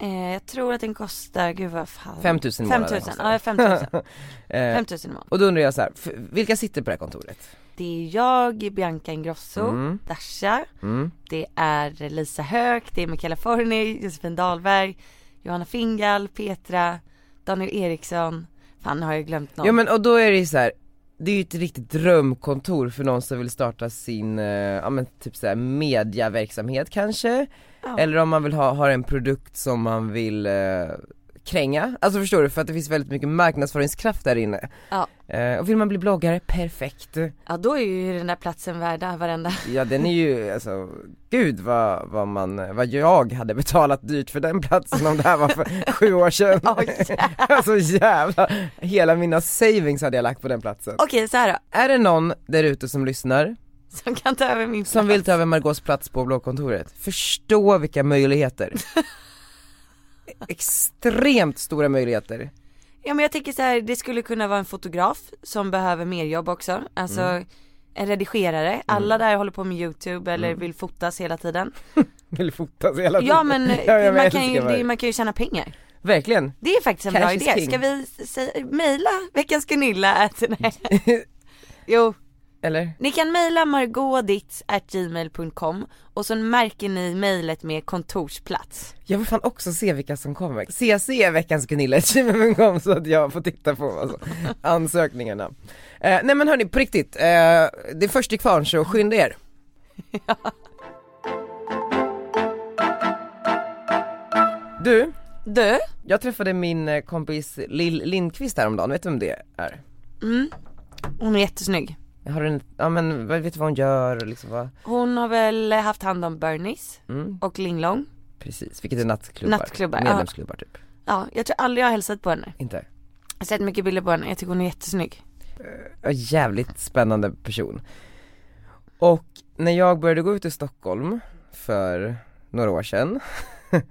Speaker 2: Eh, jag tror att den kostar, gud vad fan.
Speaker 1: 5000 i månaden
Speaker 2: 5000,
Speaker 1: kostar
Speaker 2: ja 5000.
Speaker 1: den. Eh,
Speaker 2: 5000 i månaden.
Speaker 1: och då undrar jag så här, f- vilka sitter på det här kontoret?
Speaker 2: Det är jag, Bianca Ingrosso,
Speaker 1: Mm.
Speaker 2: Dasha,
Speaker 1: Mm.
Speaker 2: det är Lisa Höök, det är Michaela Forni, Josefin Dahlberg, Johanna Fingal, Petra, Daniel Eriksson. Fan nu har jag glömt någon.
Speaker 1: Ja men och då är det ju så här, det är ju ett riktigt drömkontor för någon som vill starta sin, eh, ja men typ såhär mediaverksamhet kanske
Speaker 2: Ja.
Speaker 1: Eller om man vill ha, har en produkt som man vill eh, kränga, alltså förstår du? För att det finns väldigt mycket marknadsföringskraft där inne
Speaker 2: Ja.
Speaker 1: eh, Och vill man bli bloggare, perfekt
Speaker 2: Ja då är ju den där platsen värda varenda.
Speaker 1: Ja den är ju, alltså, gud vad, vad man, vad jag hade betalat dyrt för den platsen om det här var för sju år sedan
Speaker 2: Ja, jävlar.
Speaker 1: Alltså jävlar, hela mina savings hade jag lagt på den platsen
Speaker 2: Okej så här då,
Speaker 1: Är det någon där ute som lyssnar
Speaker 2: som kan ta över min
Speaker 1: som
Speaker 2: plats.
Speaker 1: vill ta över Margots plats på bloggkontoret, förstå vilka möjligheter. Extremt stora möjligheter.
Speaker 2: Ja men jag tänker så här, det skulle kunna vara en fotograf som behöver mer jobb också. Alltså
Speaker 1: Mm.
Speaker 2: en redigerare, alla där håller på med youtube eller
Speaker 1: Mm.
Speaker 2: vill fotas hela tiden.
Speaker 1: Vill fotas hela tiden.
Speaker 2: Ja men,
Speaker 1: jag
Speaker 2: man,
Speaker 1: älskar
Speaker 2: kan ju, det,
Speaker 1: varje-
Speaker 2: man kan ju tjäna pengar.
Speaker 1: Verkligen.
Speaker 2: Det är faktiskt en
Speaker 1: Cash
Speaker 2: bra
Speaker 1: is
Speaker 2: idé.
Speaker 1: king.
Speaker 2: Ska vi säga, mejla veckans Gunilla? at- nej. jo,
Speaker 1: Eller?
Speaker 2: ni kan mejla margotdits.gmail.com och så märker ni mejlet med kontorsplats.
Speaker 1: Jag vill fan också se vilka som kommer. CC veckans Gunilla kom så att jag får titta på alltså, ansökningarna. Eh, nej men hörni, på riktigt. Eh, det är först till kvarn så skynda er. Du,
Speaker 2: Du,
Speaker 1: jag träffade min eh, kompis Lill Lindqvist häromdagen, vet du vem det är?
Speaker 2: Mm. hon är jättesnygg.
Speaker 1: Har du en, ja men vad- vet du vad hon gör och liksom vad? mm,
Speaker 2: Hon har väl haft hand om Bernies och Linglong.
Speaker 1: Precis, vilket är nattklubbar.
Speaker 2: Nattklubbar, ja.
Speaker 1: Medlemsklubbar typ.
Speaker 2: Ja, jag tror aldrig jag har hälsat på henne.
Speaker 1: Inte?
Speaker 2: Jag har sett mycket bilder på henne, jag tycker hon är jättesnygg.
Speaker 1: en jävligt spännande person. Och när jag började gå ut i Stockholm för några år sedan,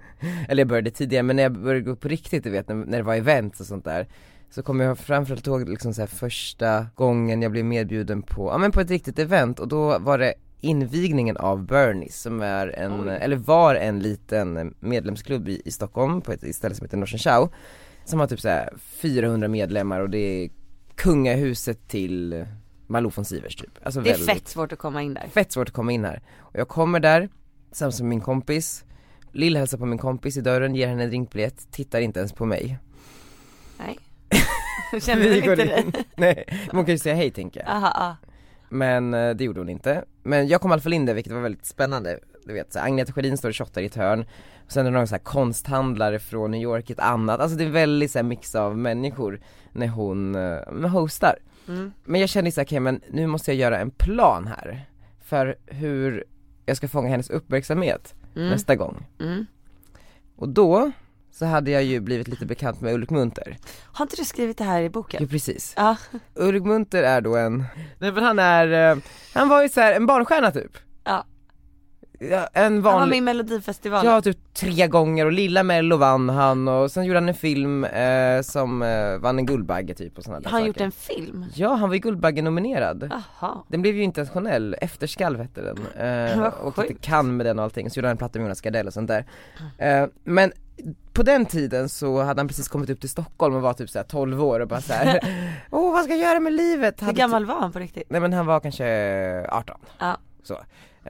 Speaker 1: eller jag började tidigare men när jag började gå upp på riktigt du vet när, när det var events och sånt där så kommer jag framförallt ihåg liksom så här första gången jag blev medbjuden på, ja men på ett riktigt event och då var det invigningen av Bernies som är en,
Speaker 2: Oj.
Speaker 1: eller var en liten medlemsklubb i, i Stockholm på ett ställe som heter Norsen Chow som har typ så här 400 medlemmar och det är kungahuset till Malou von Sivers typ. Alltså
Speaker 2: Det är
Speaker 1: väldigt-
Speaker 2: fett svårt att komma in där.
Speaker 1: fett svårt att komma in här. Och jag kommer där, sams med min kompis, Lill hälsar på min kompis i dörren, ger henne en drinkbiljett, tittar inte ens på mig.
Speaker 2: Nej. Känner hon inte dig?
Speaker 1: Nej, men hon kan ju säga hej tänker jag.
Speaker 2: Aha, ja.
Speaker 1: Men eh, det gjorde hon inte. Men jag kom i alla fall in där vilket var väldigt spännande. Du vet så här, Agneta Sjödin står och shottar i ett hörn, sen är det någon så här konsthandlare från New York i ett annat, alltså det är en väldigt så här mix av människor när hon eh, men hostar.
Speaker 2: Mm.
Speaker 1: Men jag kände så här, okej men nu måste jag göra en plan här, för hur jag ska fånga hennes uppmärksamhet
Speaker 2: Mm.
Speaker 1: nästa gång.
Speaker 2: Mm.
Speaker 1: Och då så hade jag ju blivit lite bekant med Ulrik Munter.
Speaker 2: Har inte du skrivit det här i boken?
Speaker 1: Jo precis.
Speaker 2: Ja.
Speaker 1: Ulrik Munter är då en, nej men han är, eh, han var ju så här en barnstjärna typ.
Speaker 2: Ja.
Speaker 1: Ja, en
Speaker 2: Han var
Speaker 1: vanlig,
Speaker 2: med i melodifestivalen.
Speaker 1: ja typ tre gånger och Lilla Mello vann han och sen gjorde han en film eh, som eh, vann en Guldbagge typ och sådana där
Speaker 2: har han
Speaker 1: saker.
Speaker 2: gjort en film?
Speaker 1: Ja han var ju Guldbagge nominerad.
Speaker 2: Jaha.
Speaker 1: Den blev ju internationell, Efterskalv hette den. Eh,
Speaker 2: Ah, Vad
Speaker 1: och inte
Speaker 2: sjukt. Ah.
Speaker 1: kan med den och allting, så gjorde han en platta med Jonas Gardell och sånt där. Eh, men på den tiden så hade han precis kommit upp till Stockholm och var typ såhär 12 år och bara såhär, åh vad ska jag göra med livet?
Speaker 2: Hur
Speaker 1: Hade typ-
Speaker 2: gammal var han på riktigt?
Speaker 1: Nej men han var kanske 18.
Speaker 2: Ja.
Speaker 1: Så.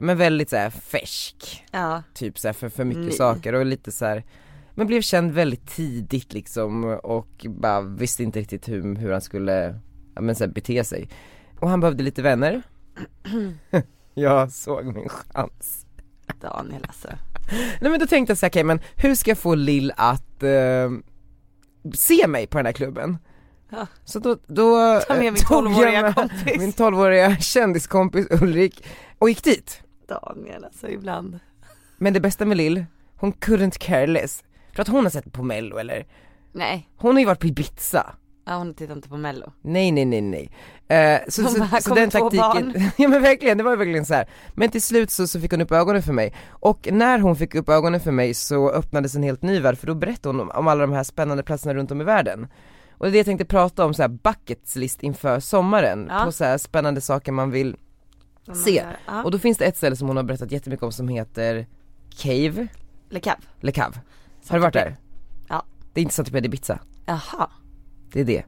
Speaker 1: Men väldigt såhär färsk,
Speaker 2: Ja.
Speaker 1: typ såhär för, för mycket
Speaker 2: Ny.
Speaker 1: saker och lite såhär men blev känd väldigt tidigt liksom och bara visste inte riktigt hur, hur han skulle, ja men såhär bete sig. Och han behövde lite vänner. jag såg min chans.
Speaker 2: Daniel alltså.
Speaker 1: Nej men då tänkte jag såhär, okej men hur ska jag få Lill att eh, se mig på den här klubben?
Speaker 2: Ja.
Speaker 1: Så då, då eh,
Speaker 2: Ta med min
Speaker 1: tog jag
Speaker 2: 12-åriga
Speaker 1: med-
Speaker 2: kompis.
Speaker 1: min 12-åriga kändiskompis Ulrik och gick dit.
Speaker 2: Daniel alltså ibland.
Speaker 1: Men det bästa med Lill, hon couldn't care less. För att hon har sett på mello eller?
Speaker 2: Nej.
Speaker 1: Hon har ju varit på Ibiza.
Speaker 2: Ja, hon tittar inte på mello.
Speaker 1: Nej nej nej nej. Eh, så,
Speaker 2: Hon
Speaker 1: så,
Speaker 2: bara,
Speaker 1: så
Speaker 2: "Kommer
Speaker 1: den
Speaker 2: två
Speaker 1: taktiken,
Speaker 2: barn."
Speaker 1: ja men verkligen, det var ju verkligen så här. Men till slut så, så fick hon upp ögonen för mig. Och när hon fick upp ögonen för mig så öppnades en helt ny värld för då berättade hon om, om alla de här spännande platserna runt om i världen. Och det är det jag tänkte prata om så här buckets list inför sommaren,
Speaker 2: Ja.
Speaker 1: på så här spännande saker man vill
Speaker 2: Vad man
Speaker 1: se.
Speaker 2: gör. Ja.
Speaker 1: Och då finns det ett ställe som hon har berättat jättemycket om som heter Cave,
Speaker 2: Le Cap.
Speaker 1: Le Cave. Har du varit där?
Speaker 2: typ Ja.
Speaker 1: Det är inte Saint Tropez Ibiza,
Speaker 2: Jaha.
Speaker 1: det är det.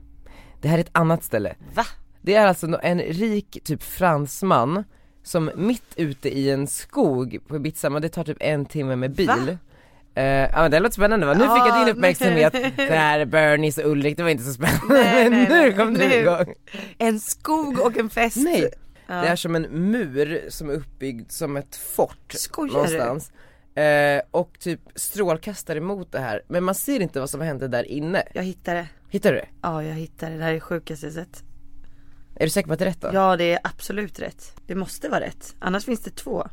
Speaker 1: Det här är ett annat ställe.
Speaker 2: Va?
Speaker 1: Det är alltså nå- en rik typ fransman som mitt ute i en skog på Ibiza, men det tar typ en timme med bil. Eh, ja men det låter spännande va? Nu fick
Speaker 2: Ja,
Speaker 1: jag din
Speaker 2: nu-
Speaker 1: uppmärksamhet. Det här Bernies och Ulrik, det var inte så spännande.
Speaker 2: Nej,
Speaker 1: men
Speaker 2: nej,
Speaker 1: nu
Speaker 2: nej.
Speaker 1: kom du
Speaker 2: Nu.
Speaker 1: igång.
Speaker 2: En skog och en fest.
Speaker 1: Nej,
Speaker 2: Ja.
Speaker 1: det är som en mur som är uppbyggd som ett fort
Speaker 2: Skojar du?
Speaker 1: någonstans. Eh, och typ strålkastar emot det här, men man ser inte vad som hände där inne.
Speaker 2: Jag hittade det.
Speaker 1: Hittar du det?
Speaker 2: Ja, jag hittade det. Det här är det sjukaste jag sett.
Speaker 1: Är du säker på att det är rätt då?
Speaker 2: Ja, det är absolut rätt. Det måste vara rätt. Annars finns det två.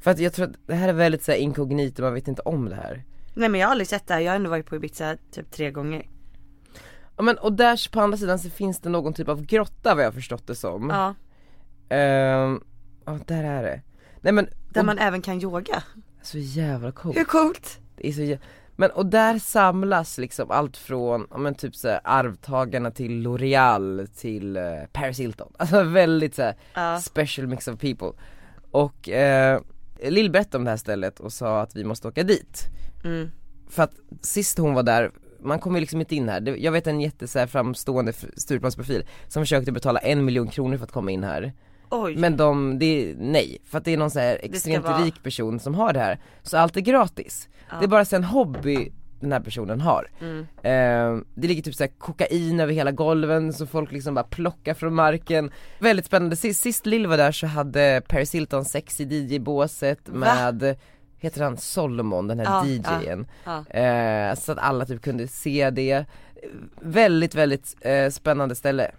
Speaker 1: För att jag tror att det här är väldigt så här inkognito, man vet inte om det här.
Speaker 2: Nej men jag har aldrig sett det här. Jag har ändå varit på Ibiza typ tre gånger.
Speaker 1: Ja men och där på andra sidan så finns det någon typ av grotta vad jag har förstått det som.
Speaker 2: Ja.
Speaker 1: Ehm, Ja där är det. Nej men,
Speaker 2: Där
Speaker 1: och,
Speaker 2: man även kan yoga.
Speaker 1: så jävla coolt.
Speaker 2: Hur coolt?
Speaker 1: Det är så jä- men och där samlas liksom allt från, ja men typ såhär arvtagarna till L'Oreal till eh, Paris Hilton, alltså väldigt såhär
Speaker 2: Ja.
Speaker 1: special mix of people Och eh, Lill berättade om det här stället och sa att vi måste åka dit
Speaker 2: Mm.
Speaker 1: För att sist hon var där, man kom ju liksom inte in här, Det- jag vet en jätte så här, framstående f- Stureplansprofil som försökte betala en miljon kronor för att komma in här
Speaker 2: Oj.
Speaker 1: men de, det är nej, för att det är någon så här
Speaker 2: ska
Speaker 1: extremt
Speaker 2: vara-
Speaker 1: rik person som har det här, så allt är gratis. Det är bara så en hobby den här personen har.
Speaker 2: Mm.
Speaker 1: Eh, det ligger typ så här kokain över hela golven så folk liksom bara plockar från marken. Väldigt spännande, sist, sist Lill var där så hade Paris Hilton sex i DJ-båset med, heter han Solomon, den här
Speaker 2: Ja,
Speaker 1: DJen.
Speaker 2: ja,
Speaker 1: Eh, så att alla typ kunde se det. Eh, Väldigt, väldigt eh, spännande ställe.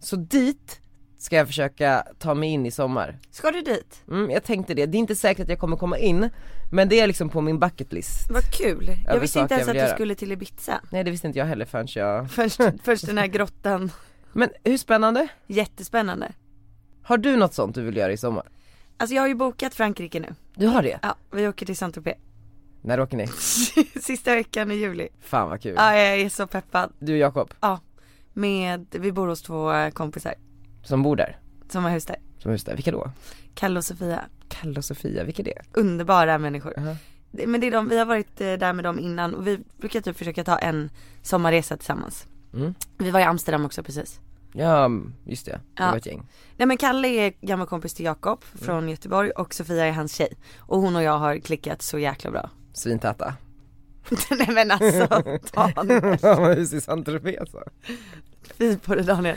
Speaker 1: Så dit ska jag försöka ta mig in i sommar.
Speaker 2: Ska du dit?
Speaker 1: Mm, jag tänkte det, det är inte säkert att jag kommer komma in men det är liksom på min bucket list.
Speaker 2: Vad kul. Jag
Speaker 1: det
Speaker 2: visste
Speaker 1: saker
Speaker 2: inte ens
Speaker 1: jag
Speaker 2: att
Speaker 1: vill
Speaker 2: du
Speaker 1: göra.
Speaker 2: skulle till Ibiza.
Speaker 1: Nej det visste inte jag heller förrän jag...
Speaker 2: Först, först den här grottan.
Speaker 1: Men hur spännande?
Speaker 2: Jättespännande.
Speaker 1: Har du något sånt du vill göra i sommar?
Speaker 2: Alltså jag har ju bokat Frankrike nu.
Speaker 1: Du har det?
Speaker 2: Ja, vi åker till Saint-Tropez.
Speaker 1: När åker ni?
Speaker 2: Sista veckan i juli.
Speaker 1: Fan vad kul.
Speaker 2: Ja, jag är så peppad.
Speaker 1: Du och Jakob,
Speaker 2: Med, vi bor hos två eh, kompisar
Speaker 1: som bor där,
Speaker 2: som har hus där.
Speaker 1: som hus där, vilka då?
Speaker 2: Kalle och Sofia.
Speaker 1: Kalle och Sofia, vilka är det?
Speaker 2: underbara människor.
Speaker 1: Mhm.
Speaker 2: Det- Men det är de, vi har varit eh, där med dem innan och vi brukar typ försöka ta en sommarresa tillsammans.
Speaker 1: Mm.
Speaker 2: Vi var i Amsterdam också precis.
Speaker 1: Ja, mm, just det, det
Speaker 2: Ja.
Speaker 1: var ett gäng.
Speaker 2: Nej men Kalle är gammal kompis till Jakob från Göteborg och Sofia är hans tjej. Och hon och jag har klickat så jäkla bra.
Speaker 1: Svintäta.
Speaker 2: Nej men alltså Daniel,
Speaker 1: Hus i Saint-Tropez så.
Speaker 2: fy på dig Daniel.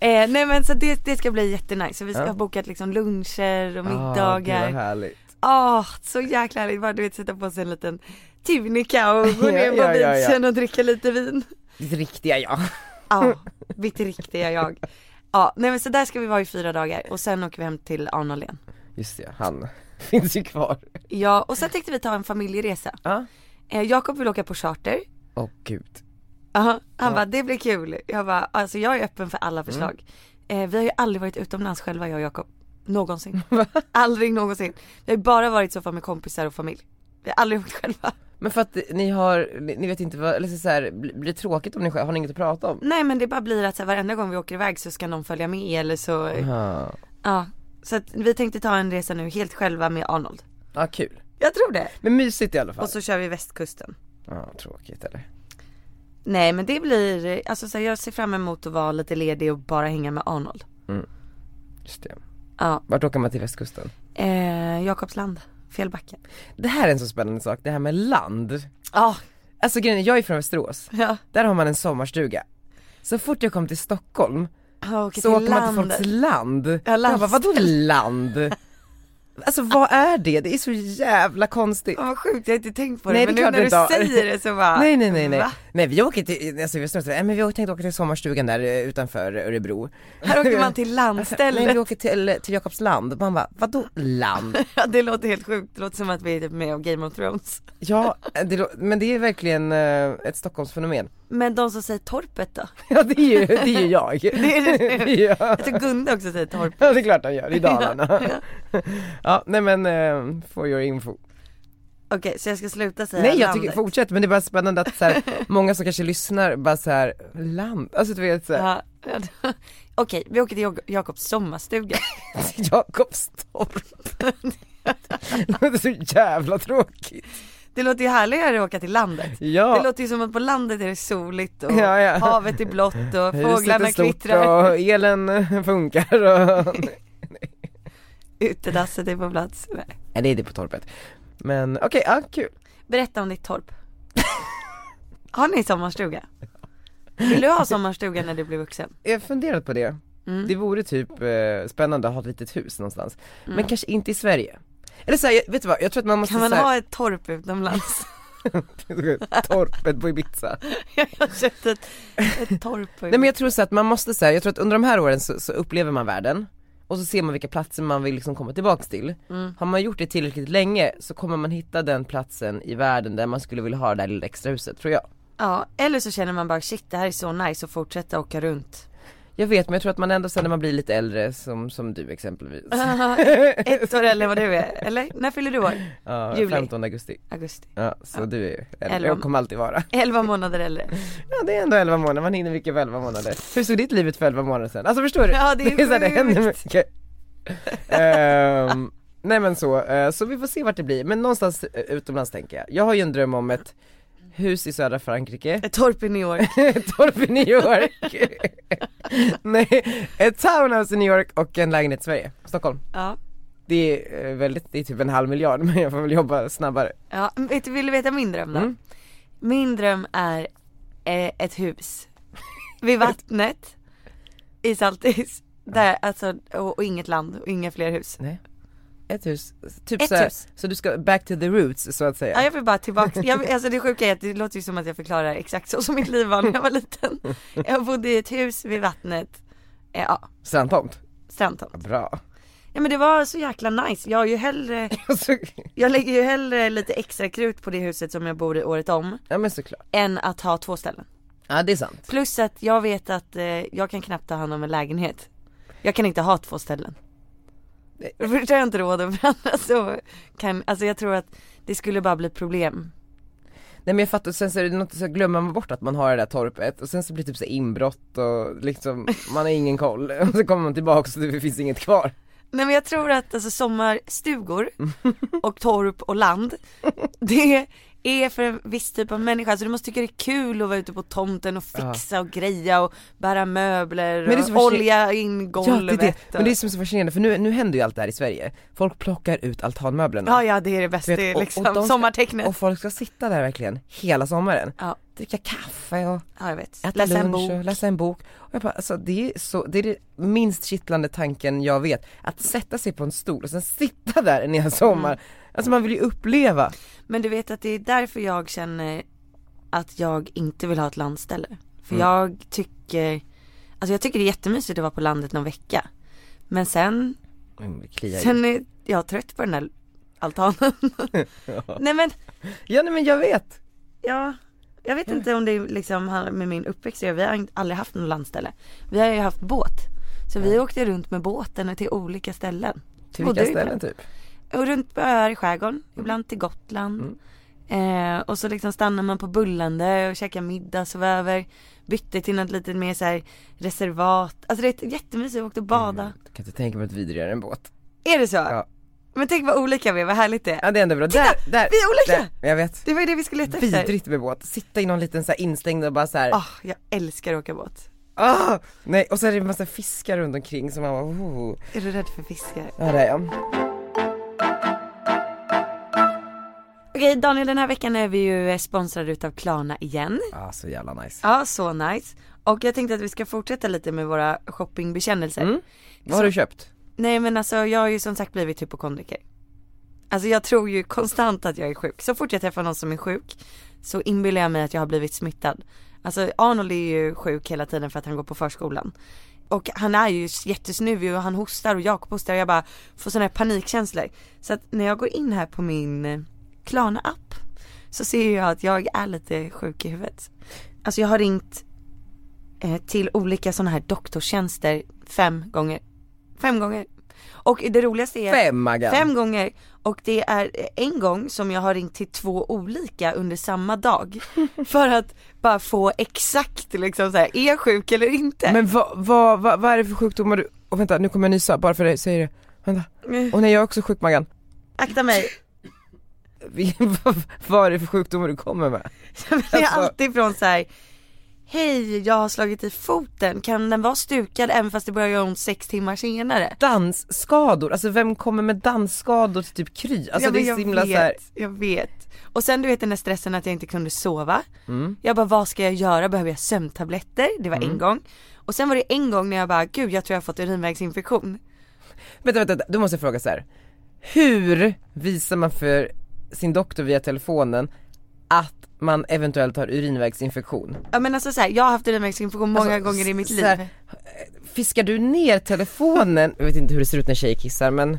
Speaker 2: Eh, nej men så det, det ska bli jättenice. Så vi ska
Speaker 1: Ja.
Speaker 2: ha bokat liksom luncher och
Speaker 1: Ah, gud, vad
Speaker 2: middagar.
Speaker 1: härligt.
Speaker 2: Åh, så jäkla härligt. Bara du vet sätta på sig en liten tunika och gå
Speaker 1: Ja,
Speaker 2: ner på
Speaker 1: ja, ja, ja.
Speaker 2: beachen och dricka lite vin.
Speaker 1: Ditt riktiga jag.
Speaker 2: Ja, mitt riktiga jag. Ja, nej men så där ska vi vara i fyra dagar och sen åker vi hem till Arnold igen.
Speaker 1: Just det, han finns ju kvar.
Speaker 2: Ja, och sen tänkte vi ta en familjeresa.
Speaker 1: Ja.
Speaker 2: Eh, Jakob vill åka på charter.
Speaker 1: Åh gud.
Speaker 2: Aha, han
Speaker 1: Ja.
Speaker 2: bara, det blir kul. Jag bara, alltså jag är öppen för alla förslag. Eh, vi har ju aldrig varit utomlands själva jag och Jakob. Någonsin. aldrig någonsin. Vi har ju bara varit i så fall med kompisar och familj. Vi har aldrig åkt själva.
Speaker 1: Men för att ni har, ni ni vet inte vad, eller så här, blir blir det tråkigt om ni själv, har ni inget att prata om?
Speaker 2: Nej men det bara blir att så här, varenda gång vi åker iväg så ska någon följa med eller så,
Speaker 1: Ja,
Speaker 2: ja. Så att vi tänkte ta en resa nu helt själva med Arnold.
Speaker 1: ah, kul.
Speaker 2: Jag tror det.
Speaker 1: Men mysigt i alla fall.
Speaker 2: Och så kör vi västkusten.
Speaker 1: Ja, tråkigt eller?
Speaker 2: Nej men det blir, alltså så här, jag ser fram emot att vara lite ledig och bara hänga med Arnold.
Speaker 1: Just det.
Speaker 2: Ja,
Speaker 1: Vart åker man till västkusten?
Speaker 2: eh, Jakobsland, Fjällbacka.
Speaker 1: Det här är en så spännande sak, det här med land.
Speaker 2: Ja,
Speaker 1: Alltså grejen är, jag är från Västerås,
Speaker 2: ja.
Speaker 1: där har man en sommarstuga. Så fort jag kom till Stockholm
Speaker 2: Ja, åker
Speaker 1: så
Speaker 2: till
Speaker 1: åker man till
Speaker 2: land.
Speaker 1: folks land.
Speaker 2: Ja,
Speaker 1: jag bara, vadå land? Alltså vad är det? Det är så jävla konstigt.
Speaker 2: Ja, vad sjukt, jag har inte tänkt på det.
Speaker 1: Nej, det
Speaker 2: men
Speaker 1: är klart
Speaker 2: nu när
Speaker 1: du
Speaker 2: du
Speaker 1: inte har.
Speaker 2: säger det så bara.
Speaker 1: Nej nej nej nej,
Speaker 2: Ah, Va?
Speaker 1: nej vi åker till, alltså vi snart, nej men vi tänkte åka till sommarstugan där eh, utanför Örebro
Speaker 2: Här åker man till
Speaker 1: Nej vi
Speaker 2: landstället.
Speaker 1: åker till, till Jakobsland, man bara vadå land?
Speaker 2: Ja, det låter helt sjukt, det låter som att vi är typ med om Game of Thrones.
Speaker 1: Ja, eh, det, lå- men det är verkligen eh, ett Stockholmsfenomen
Speaker 2: Men de som säger torpet då?
Speaker 1: Ja det är ju, det är ju jag
Speaker 2: Det är det nu.
Speaker 1: ja.
Speaker 2: Jag tror Gunde också säger torp.
Speaker 1: ja det är klart han gör, i Dalarna Ja nej men, eh, for your info
Speaker 2: Okej, så jag ska sluta säga
Speaker 1: Nej jag
Speaker 2: landet.
Speaker 1: tycker, fortsätt men det är bara spännande att så här, många som kanske lyssnar bara så här, land, alltså du vet såhär,
Speaker 2: Ja. Okej, vi åker till Jak- Jakobs sommarstuga.
Speaker 1: Jakobstorp Det är så jävla tråkigt
Speaker 2: Det låter ju härligare att åka till landet.
Speaker 1: Ja,
Speaker 2: Det låter ju som att på landet är det soligt och
Speaker 1: Ja, ja.
Speaker 2: havet är blått och
Speaker 1: Huset är
Speaker 2: fåglarna
Speaker 1: stort
Speaker 2: kvittrar.
Speaker 1: och elen eh, funkar och...
Speaker 2: Utedasset är på plats. Nej.
Speaker 1: Nej det är det på torpet. Men okej, ja kul.
Speaker 2: berätta om ditt torp. har ni sommarstuga? Vill du ha sommarstuga när du blir vuxen?
Speaker 1: Jag har funderat på
Speaker 2: Mm.
Speaker 1: det. Det vore typ eh, spännande att ha ett litet hus någonstans. Men kanske inte i Sverige. Eller såhär, vet du vad, jag tror att man måste
Speaker 2: Mm. Kan man
Speaker 1: så här-
Speaker 2: ha ett torp utomlands?
Speaker 1: torpet på Ibiza.
Speaker 2: jag har köpt ett, ett torp på
Speaker 1: Nej men jag tror så att man måste säga, jag tror att under de här åren så, så upplever man världen och så ser man vilka platser man vill liksom komma tillbaks till.
Speaker 2: mm.
Speaker 1: Har man gjort det tillräckligt länge så kommer man hitta den platsen i världen där man skulle vilja ha det där lilla extra huset tror jag.
Speaker 2: Ja, eller så känner man bara shit det här är så nice och fortsätta åka runt.
Speaker 1: Jag vet men jag tror att man ändå sen när man blir lite äldre som, som du exempelvis.
Speaker 2: Ett år eller vad du är, eller? När fyller du år?
Speaker 1: Ja,
Speaker 2: Juli.
Speaker 1: 15 augusti.
Speaker 2: Augusti.
Speaker 1: Ja, så du är ju äldre.
Speaker 2: Elva.
Speaker 1: Jag kommer alltid vara.
Speaker 2: 11 månader äldre.
Speaker 1: Ja det är ändå 11 månader, man hinner mycket på 11 månader. Hur såg ditt liv ut för 11 månader sedan? Alltså förstår du?
Speaker 2: Ja, det är
Speaker 1: så här, det
Speaker 2: sjukt.
Speaker 1: händer mycket. Ehm, nej men så, eh, så vi får se vart det blir. Men någonstans eh, utomlands tänker jag. Jag har ju en dröm om ett hus i södra Frankrike,
Speaker 2: Ett torp i New York.
Speaker 1: ett torp i New York. nej, ett townhouse i New York och en lägenhet i Sverige, Stockholm.
Speaker 2: Ja.
Speaker 1: Det är eh, väldigt, det är typ en halv miljard men jag får väl jobba snabbare.
Speaker 2: ja. Vet, du- vill du veta min dröm då?
Speaker 1: Mm.
Speaker 2: Min dröm är eh, ett hus. Vid vattnet. I Saltis. Där, alltså, och, och inget land och inga fler hus.
Speaker 1: Nej. Ett hus, typ
Speaker 2: Ett
Speaker 1: så, här,
Speaker 2: hus.
Speaker 1: så du ska back to the roots så att säga.
Speaker 2: Ja, jag vill bara tillbaka, jag, vill- alltså det sjuka är att det låter ju som att jag förklarar exakt så som mitt liv var när jag var liten. Jag bodde i ett hus vid vattnet, eh, ja,
Speaker 1: Strandtomt.
Speaker 2: strandtomt.
Speaker 1: Bra.
Speaker 2: Ja men det var så jäkla nice, jag har ju hellre,
Speaker 1: Så,
Speaker 2: jag lägger ju hellre lite extra krut på det huset som jag bor i året om,
Speaker 1: ja men såklart.
Speaker 2: än att ha två ställen.
Speaker 1: Ja det är sant.
Speaker 2: Plus att jag vet att eh, jag kan knappt ta hand om en lägenhet. Jag kan inte ha två ställen. Först har jag inte råd att varandra så kan, alltså jag tror att det skulle bara bli problem.
Speaker 1: Nej men jag fattar, sen så är det något, så glömmer man bort att man har det där torpet och sen så blir det typ så här inbrott och liksom, man har ingen koll. Och så kommer man tillbaka och så det finns inget kvar.
Speaker 2: Nej men jag tror att alltså, sommarstugor och torp och land, det är för en viss typ av människa. Alltså du måste tycka det är kul att vara ute på tomten och fixa och greja och bära möbler
Speaker 1: Men det är så
Speaker 2: och
Speaker 1: fascinerande-
Speaker 2: olja in golvet.
Speaker 1: det.
Speaker 2: och-
Speaker 1: Men det är som är så fascinerande för nu, nu händer ju allt det här i Sverige. Folk plockar ut altanmöblerna.
Speaker 2: Ja ja det är det bästa,
Speaker 1: Du vet, och- och
Speaker 2: liksom,
Speaker 1: de ska-
Speaker 2: sommartecknet.
Speaker 1: Och folk ska sitta där verkligen hela sommaren.
Speaker 2: Ja.
Speaker 1: Dricka kaffe och
Speaker 2: ja jag vet,
Speaker 1: äta
Speaker 2: läsa
Speaker 1: lunch
Speaker 2: en bok.
Speaker 1: och läsa en bok. Och jag bara, alltså, det, är så, det är det minst kittlande tanken jag vet. Att sätta sig på en stol och sen sitta där en hel sommar.
Speaker 2: Mm.
Speaker 1: Alltså man vill ju uppleva.
Speaker 2: Men du vet att det är därför jag känner att jag inte vill ha ett landställe. För
Speaker 1: Mm.
Speaker 2: jag tycker, alltså jag tycker det är jättemysigt att vara på landet någon vecka. Men sen
Speaker 1: Mm, det kliar ju.
Speaker 2: Sen är jag trött på den här altanen. Nej men,
Speaker 1: Ja nej men jag vet.
Speaker 2: ja. Jag vet inte om det liksom handlar med min uppväxt att göra. Vi har inte- aldrig haft något landställe. Vi har ju haft båt. Så vi åkte runt med båten till olika ställen.
Speaker 1: Till
Speaker 2: Och
Speaker 1: vilka
Speaker 2: du
Speaker 1: ställen
Speaker 2: ibland.
Speaker 1: typ?
Speaker 2: Och runt på öar i skärgården.
Speaker 1: Mm.
Speaker 2: Ibland till Gotland. Eh, och så liksom stannar man på Bullande och käkar middag, sov över. Bytte till något litet mer så här reservat. Alltså det är jättemysigt, vi åkte och bada.
Speaker 1: Jag kan inte tänka mig att vidrigare än båt.
Speaker 2: Är det så?
Speaker 1: Mm. Ja.
Speaker 2: Men tänk vad olika vi är, vad härligt det är.
Speaker 1: Ja det är ändå bra.
Speaker 2: Titta,
Speaker 1: där, där,
Speaker 2: vi är olika!
Speaker 1: Där. Jag vet.
Speaker 2: Det var ju det vi skulle leta efter.
Speaker 1: Vidrigt med båt. Sitta i någon liten så här instängd och bara så här.
Speaker 2: Ah, jag älskar att åka båt.
Speaker 1: Ah, nej och så är det en massa fiskar runt omkring som man bara oh.
Speaker 2: Är du rädd för fiskar?
Speaker 1: Ja det är jag.
Speaker 2: Okej Daniel, den här veckan är vi ju eh, sponsrade utav Klarna igen.
Speaker 1: Ah så jävla nice.
Speaker 2: Ja, så nice. Och jag tänkte att vi ska fortsätta lite med våra shoppingbekännelser.
Speaker 1: Mm. Vad har du köpt?
Speaker 2: Nej men alltså jag har ju som sagt blivit hypokondriker. Alltså jag tror ju konstant att jag är sjuk. Så fort jag träffar någon som är sjuk så inbillar jag mig att jag har blivit smittad. Alltså Arnold är ju sjuk hela tiden för att han går på förskolan. Och han är ju jättesnuvig och han hostar och Jakob hostar och jag bara får sådana här panikkänslor. Så att när jag går in här på min eh, Klarna-app så ser jag att jag är lite sjuk i huvudet. Alltså jag har ringt eh, till olika sådana här doktortjänster fem gånger. Fem gånger. Och det roligaste är
Speaker 1: Fem Maggan.
Speaker 2: Fem gånger och det är en gång som jag har ringt till två olika under samma dag för att bara få exakt liksom så här, är jag sjuk eller inte?
Speaker 1: Men vad, vad, vad, vad är det för sjukdomar du, och vänta nu kommer jag nysa bara för dig, säger det. Vänta. Och nej jag är också sjuk Maggan.
Speaker 2: Akta mig,
Speaker 1: Vi- vad- vad är det för sjukdomar du kommer med?
Speaker 2: det är
Speaker 1: Alltså-
Speaker 2: alltid från så här Hej, jag har slagit i foten, kan den vara stukad även fast det börjar göra ont sex timmar senare?
Speaker 1: Dansskador, alltså vem kommer med dansskador till typ Kry? Alltså
Speaker 2: Ja,
Speaker 1: det
Speaker 2: men
Speaker 1: är
Speaker 2: jag
Speaker 1: så himla
Speaker 2: vet,
Speaker 1: såhär,
Speaker 2: Jag vet. Och sen du vet den där stressen att jag inte kunde sova.
Speaker 1: Mm.
Speaker 2: Jag bara vad ska jag göra, behöver jag sömntabletter? Det var en gång. Och sen var det en gång när jag bara gud jag tror jag har fått urinvägsinfektion.
Speaker 1: vänta, vänta vänta, du måste jag fråga så här. Hur visar man för sin doktor via telefonen att man eventuellt har urinvägsinfektion?
Speaker 2: Ja men alltså så här, jag har haft urinvägsinfektion många
Speaker 1: Alltså,
Speaker 2: gånger i mitt
Speaker 1: så
Speaker 2: liv.
Speaker 1: här, Fiskar du ner telefonen, jag vet inte hur det ser ut när tjejer kissar men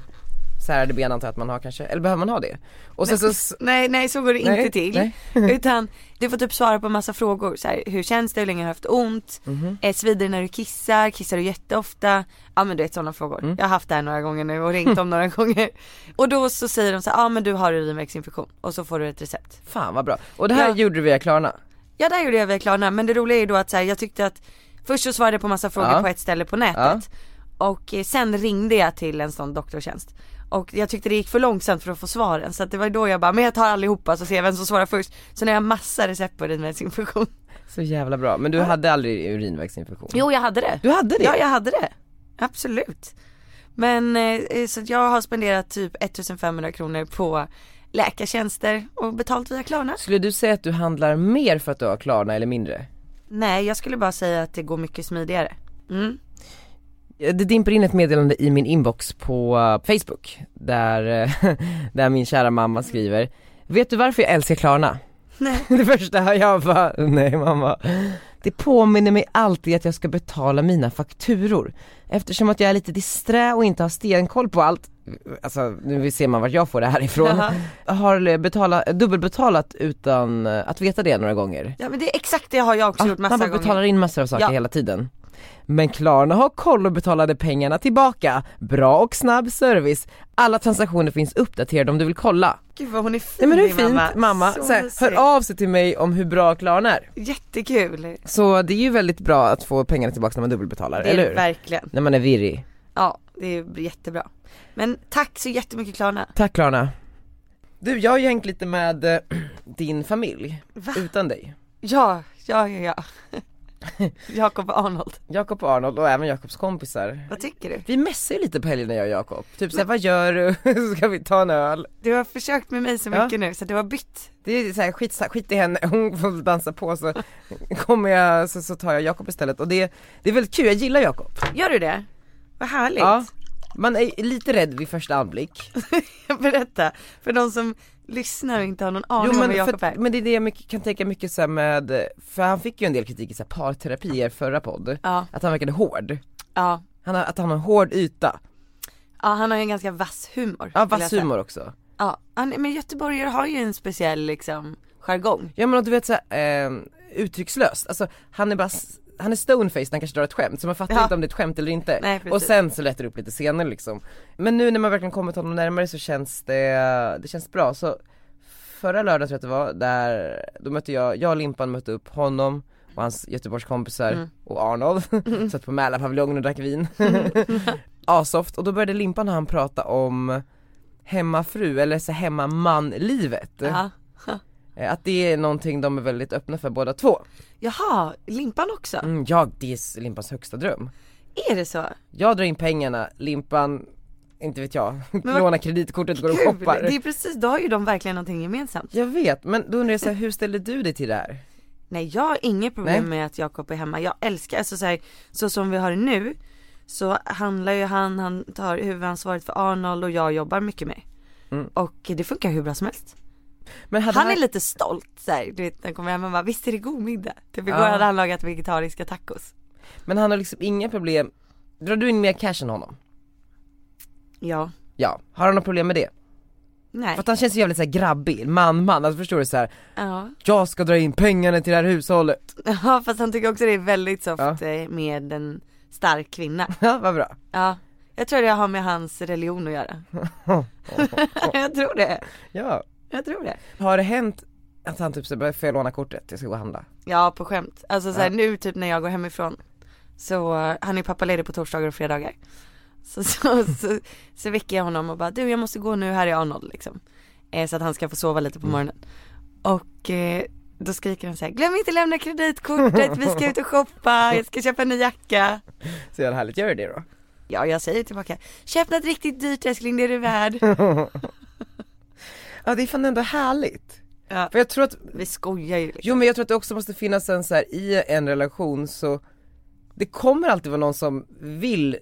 Speaker 1: särade ben antar jag att man har kanske, eller behöver man ha det? Och sen så,
Speaker 2: Nej nej så går det
Speaker 1: Nej,
Speaker 2: inte till.
Speaker 1: nej.
Speaker 2: Utan du får typ svara på massa frågor. Så här, hur känns det, hur länge har du haft ont? Eh, svider det när du kissar? Kissar du jätteofta? Ja men du vet sådana frågor. Jag har haft det här några gånger nu och ringt om några gånger. Och då så säger de så här, ja men du har urinvägsinfektion. Och så får du ett recept.
Speaker 1: fan vad bra. Och det här
Speaker 2: Ja.
Speaker 1: gjorde du via Klarna?
Speaker 2: Ja där gjorde jag via Klarna men det roliga är ju då att så här, jag tyckte att först så svarade jag på massa frågor
Speaker 1: Ja.
Speaker 2: på ett ställe på nätet. Och eh, sen ringde jag till en sån doktortjänst. Och jag tyckte det gick för långsamt för att få svaren så att det var då jag bara, men jag tar allihopa så ser jag vem som svarar först. Så nu har jag massa recept på urinvägsinfektion.
Speaker 1: Så jävla bra, men du hade aldrig urinvägsinfektion?
Speaker 2: Jo jag hade det.
Speaker 1: Du hade det?
Speaker 2: Ja jag hade det. Absolut. Men eh, så att jag har spenderat typ 1500 kronor på läkartjänster och betalt via Klarna.
Speaker 1: Skulle du säga att du handlar mer för att du har Klarna eller mindre?
Speaker 2: Nej jag skulle bara säga att det går mycket smidigare. Mm.
Speaker 1: Det dimper in ett meddelande i min inbox på eh, Facebook där, eh, där min kära mamma skriver Vet du varför jag älskar Klarna?
Speaker 2: Nej.
Speaker 1: Det första jag bara, nej mamma Det påminner mig alltid att jag ska betala mina fakturor Eftersom att jag är lite disträ och inte har stenkoll på allt Alltså nu ser man vart jag får det här ifrån
Speaker 2: Jaha.
Speaker 1: Har betala, dubbelbetalat utan eh, att veta det några gånger
Speaker 2: Ja men det är exakt det har jag också
Speaker 1: Ja,
Speaker 2: gjort massa
Speaker 1: man bara
Speaker 2: gånger.
Speaker 1: Ah, betalar in massor av saker
Speaker 2: Ja.
Speaker 1: hela tiden. Men Klarna har koll och betalade pengarna tillbaka. Bra och snabb service. Alla transaktioner finns uppdaterade om du vill kolla.
Speaker 2: Gud vad hon är fin
Speaker 1: Nej men hur
Speaker 2: din
Speaker 1: fint mamma,
Speaker 2: Så
Speaker 1: så här,
Speaker 2: mysig.
Speaker 1: hör av sig till mig om hur bra Klarna är.
Speaker 2: Jättekul.
Speaker 1: Så det är ju väldigt bra att få pengarna tillbaka när man dubbelbetalar,
Speaker 2: Det är
Speaker 1: eller
Speaker 2: det
Speaker 1: hur?
Speaker 2: verkligen.
Speaker 1: När man är virrig.
Speaker 2: Ja det är jättebra. Men tack så jättemycket Klarna.
Speaker 1: Tack Klarna. Du, jag har ju hängt lite med eh, din familj,
Speaker 2: Va?
Speaker 1: utan dig.
Speaker 2: Ja, ja, ja, ja. Jakob Arnold,
Speaker 1: Jakob och Arnold och även Jakobs kompisar.
Speaker 2: vad tycker du?
Speaker 1: Vi messar ju lite på helgerna jag och Jakob. Typ såhär, vad gör du? Ska vi ta en öl?
Speaker 2: Du har försökt med mig så
Speaker 1: Ja.
Speaker 2: mycket nu så du har bytt.
Speaker 1: Det är så här, skit, skit i henne, hon får dansa på så kommer jag, så, så tar jag Jakob istället och det, det är väldigt kul, jag gillar Jakob.
Speaker 2: Gör du det? Vad härligt.
Speaker 1: Ja, man är lite rädd vid första anblick.
Speaker 2: Berätta, för de som lyssnar och inte har någon aning om
Speaker 1: men,
Speaker 2: vad Jakob
Speaker 1: för,
Speaker 2: är.
Speaker 1: men det är det jag mycket, kan tänka mycket så här med, för han fick ju en del kritik i så här parterapi i er förra podd,
Speaker 2: Ja,
Speaker 1: att han verkade hård.
Speaker 2: ja.
Speaker 1: Han har, att han har en hård yta,
Speaker 2: Ja han har ju en ganska vass humor.
Speaker 1: ja
Speaker 2: skulle jag
Speaker 1: vass
Speaker 2: säga.
Speaker 1: humor också.
Speaker 2: Ja, han, men göteborgare har ju en speciell liksom jargong.
Speaker 1: Ja men och du vet såhär, eh, uttryckslöst, alltså han är bara, s- han är stonefaced när han kanske drar ett skämt så man fattar
Speaker 2: Ja.
Speaker 1: inte om det är ett skämt eller inte.
Speaker 2: Nej, precis.
Speaker 1: och sen så lättar det upp lite senare liksom. Men nu när man verkligen kommit honom närmare så känns det, det känns bra. Så förra lördagen tror jag att det var, där, då mötte jag, jag och Limpan mötte upp honom och hans göteborgskompisar
Speaker 2: Mm.
Speaker 1: och Arnold, satt på Mälarpaviljongen och drack vin. Asoft, och då började Limpan och han prata om hemmafru eller så här hemmamanlivet.
Speaker 2: Ja.
Speaker 1: Eh, Att det är någonting de är väldigt öppna för båda två.
Speaker 2: Jaha, Limpan också?
Speaker 1: Mm, ja, det är Limpans högsta dröm.
Speaker 2: Är det så?
Speaker 1: Jag drar in pengarna, Limpan, inte vet jag,
Speaker 2: vad
Speaker 1: lånar kreditkortet och går och
Speaker 2: Kul!
Speaker 1: shoppar.
Speaker 2: Det är precis, då har ju de verkligen någonting gemensamt.
Speaker 1: Jag vet, men då undrar jag så här, hur ställer du dig till det här?
Speaker 2: Nej jag har inget problem
Speaker 1: Nej.
Speaker 2: med att Jakob är hemma. Jag älskar, alltså så, här, så som vi har det nu så handlar ju han, han tar huvudansvaret för Arnold och jag jobbar mycket med.
Speaker 1: Mm.
Speaker 2: Och det funkar hur bra som helst.
Speaker 1: Men hade
Speaker 2: Han är lite stolt så här, du vet när han kommer hem och bara visst är det god middag? Typ igår
Speaker 1: Ja.
Speaker 2: hade han lagat vegetariska tacos.
Speaker 1: men han har liksom inga problem, drar du in mer cash än honom?
Speaker 2: Ja,
Speaker 1: Ja, har han något problem med det?
Speaker 2: nej.
Speaker 1: För att han känns ju jävligt såhär grabbig, man man, alltså förstår du så här.
Speaker 2: Ja.
Speaker 1: jag ska dra in pengarna till det här hushållet.
Speaker 2: ja fast han tycker också det är väldigt soft
Speaker 1: Ja.
Speaker 2: eh, med en stark kvinna.
Speaker 1: Ja, vad bra.
Speaker 2: Ja, jag tror det har med hans religion att göra. jag tror det,
Speaker 1: Ja.
Speaker 2: jag tror det.
Speaker 1: Har det hänt att han typ såhär, får jag låna kortet? Jag ska gå och handla.
Speaker 2: Ja på skämt, alltså så här,
Speaker 1: Ja.
Speaker 2: nu typ när jag går hemifrån så, han är pappaledig på torsdagar och fredagar. Så, så, så, så väcker jag honom och bara du
Speaker 1: Mm.
Speaker 2: jag måste gå nu, här är Arnold liksom. Eh, så att han ska få sova lite på morgonen. Och eh, då skriker de så här, glöm inte lämna kreditkortet, vi ska ut och shoppa, jag ska köpa en ny jacka.
Speaker 1: Så jävla härligt, gör du det då?
Speaker 2: Ja, jag säger tillbaka, köp något riktigt dyrt älskling, det är du värd.
Speaker 1: Ja det är fan ändå härligt.
Speaker 2: Ja.
Speaker 1: För jag tror att,
Speaker 2: Vi skojar ju liksom.
Speaker 1: jo men jag tror att det också måste finnas en så här i en relation så det kommer alltid vara någon som vill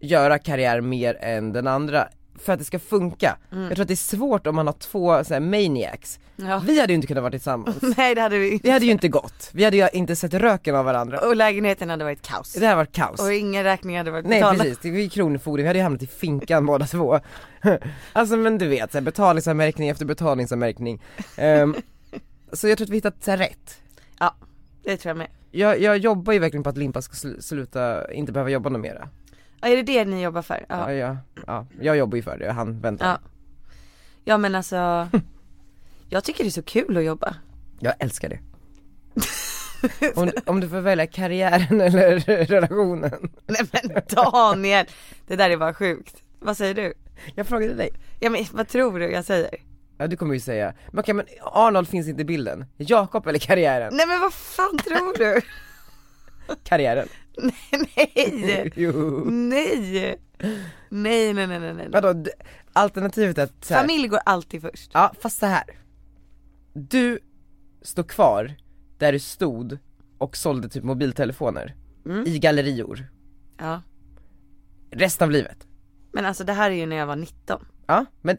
Speaker 1: göra karriär mer än den andra för att det ska funka. Jag tror att det är svårt om man har två så här, maniacs.
Speaker 2: Mm. Ja.
Speaker 1: Vi hade ju inte kunnat vara tillsammans.
Speaker 2: Nej det hade vi
Speaker 1: Det
Speaker 2: inte.
Speaker 1: hade ju inte gått. Vi hade ju inte sett röken av varandra.
Speaker 2: Och lägenheten hade varit kaos.
Speaker 1: Det här var kaos.
Speaker 2: Och inga räkningar hade varit
Speaker 1: Nej
Speaker 2: betalda.
Speaker 1: precis, det var ju Kronofogden, vi hade ju hamnat i finkan båda två. alltså men du vet, så här, betalningsanmärkning efter betalningsanmärkning. Ehm, så jag tror att vi hittat så här, rätt.
Speaker 2: Ja, det tror jag med.
Speaker 1: Jag, jag jobbar ju verkligen på att Limpa ska sl- sluta, inte behöva jobba något mera.
Speaker 2: Ja, är det det ni jobbar för?
Speaker 1: Ja.
Speaker 2: Ja.
Speaker 1: Ja, ja, jag jobbar ju för det, han väntar.
Speaker 2: Ja, ja men alltså, jag tycker det är så kul att jobba.
Speaker 1: Jag älskar det. om, om du får välja karriären eller relationen.
Speaker 2: Nej men Daniel, det där är bara sjukt. Vad säger du?
Speaker 1: Jag frågade dig.
Speaker 2: Ja men vad tror du jag säger?
Speaker 1: Ja du kommer ju säga, men okej men Arnold finns inte i bilden. Jakob eller karriären?
Speaker 2: Nej men vad fan tror du?
Speaker 1: Karriären.
Speaker 2: nej,
Speaker 1: jo.
Speaker 2: nej, nej, nej, nej, nej, nej.
Speaker 1: Vadå, d- alternativet är att så här,
Speaker 2: Familj går alltid först.
Speaker 1: Ja fast så här. Du står kvar där du stod och sålde typ mobiltelefoner i gallerior
Speaker 2: Mm. Ja,
Speaker 1: resten av livet.
Speaker 2: men alltså det här är ju när jag var 19.
Speaker 1: Ja men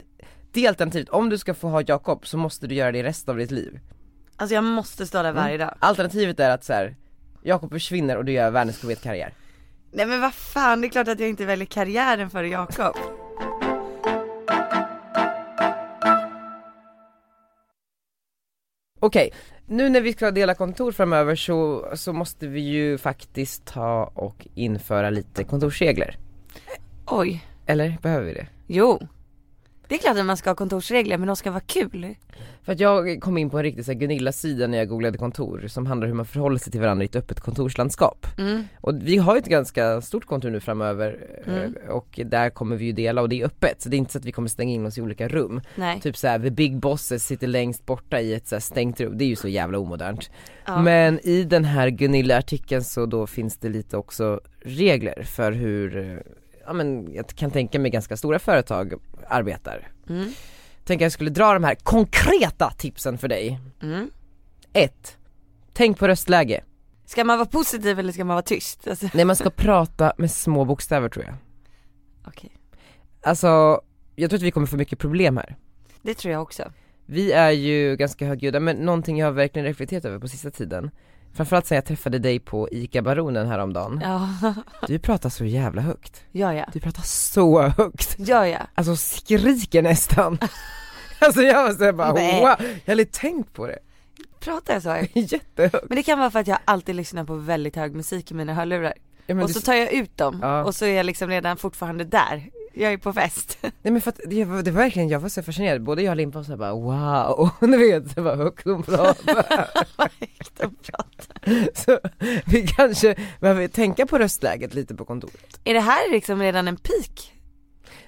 Speaker 1: det alternativet, om du ska få ha Jakob så måste du göra det resten av ditt liv.
Speaker 2: Alltså jag måste stå där varje dag.
Speaker 1: Alternativet är att så här. Jakob försvinner och du gör världens karriär.
Speaker 2: Nej men vad fan, det är klart att jag inte väljer karriären före Jakob.
Speaker 1: Okej, nu när vi ska dela kontor framöver så, så måste vi ju faktiskt ta och införa lite kontorsregler.
Speaker 2: Oj,
Speaker 1: Eller behöver vi det?
Speaker 2: jo. Det är klart att man ska ha kontorsregler men de ska vara kul.
Speaker 1: För att jag kom in på en riktig så här Gunilla-sida när jag googlade kontor som handlar om hur man förhåller sig till varandra i ett öppet kontorslandskap.
Speaker 2: Mm.
Speaker 1: Och vi har ju ett ganska stort kontor nu framöver eh,
Speaker 2: Mm.
Speaker 1: och där kommer vi ju dela och det är öppet så det är inte så att vi kommer stänga in oss i olika rum.
Speaker 2: Nej.
Speaker 1: Typ såhär the big bosses sitter längst borta i ett så här stängt rum, det är ju så jävla omodernt.
Speaker 2: Ja.
Speaker 1: Men i den här Gunilla-artikeln så då finns det lite också regler för hur, eh, ja men jag kan tänka mig ganska stora företag arbetar.
Speaker 2: Mm.
Speaker 1: Tänk att jag skulle dra de här konkreta tipsen för dig.
Speaker 2: Mm.
Speaker 1: 1. Tänk på röstläge.
Speaker 2: Ska man vara positiv eller ska man vara tyst? Alltså,
Speaker 1: Nej man ska prata med små bokstäver tror jag.
Speaker 2: okej.
Speaker 1: Alltså, jag tror att vi kommer få mycket problem här.
Speaker 2: Det tror jag också.
Speaker 1: Vi är ju ganska högljudda men någonting jag har verkligen reflekterat över på sista tiden Framförallt sen jag träffade dig på ICA Baronen häromdagen
Speaker 2: Ja,
Speaker 1: Du pratar så jävla högt
Speaker 2: ja, ja.
Speaker 1: Du pratar så högt
Speaker 2: Ja, ja.
Speaker 1: Alltså skriker nästan Alltså jag var såhär bara
Speaker 2: Nej.
Speaker 1: wow, jag hade aldrig tänkt på det
Speaker 2: Pratar jag så? här?
Speaker 1: Jättehögt
Speaker 2: Men det kan vara för att jag alltid lyssnar på väldigt hög musik i mina hörlurar.
Speaker 1: ja, men
Speaker 2: Och
Speaker 1: du-
Speaker 2: så tar jag ut dem
Speaker 1: Ja.
Speaker 2: och så är jag liksom redan fortfarande där. Jag är på fest.
Speaker 1: Nej men för att det var, det var verkligen, jag var så fascinerad, både jag och Limpa var såhär bara wow, ni vet så bara högt och bra
Speaker 2: De pratar.
Speaker 1: Så vi kanske behöver tänka på röstläget lite på kontoret
Speaker 2: är det här liksom redan en peak?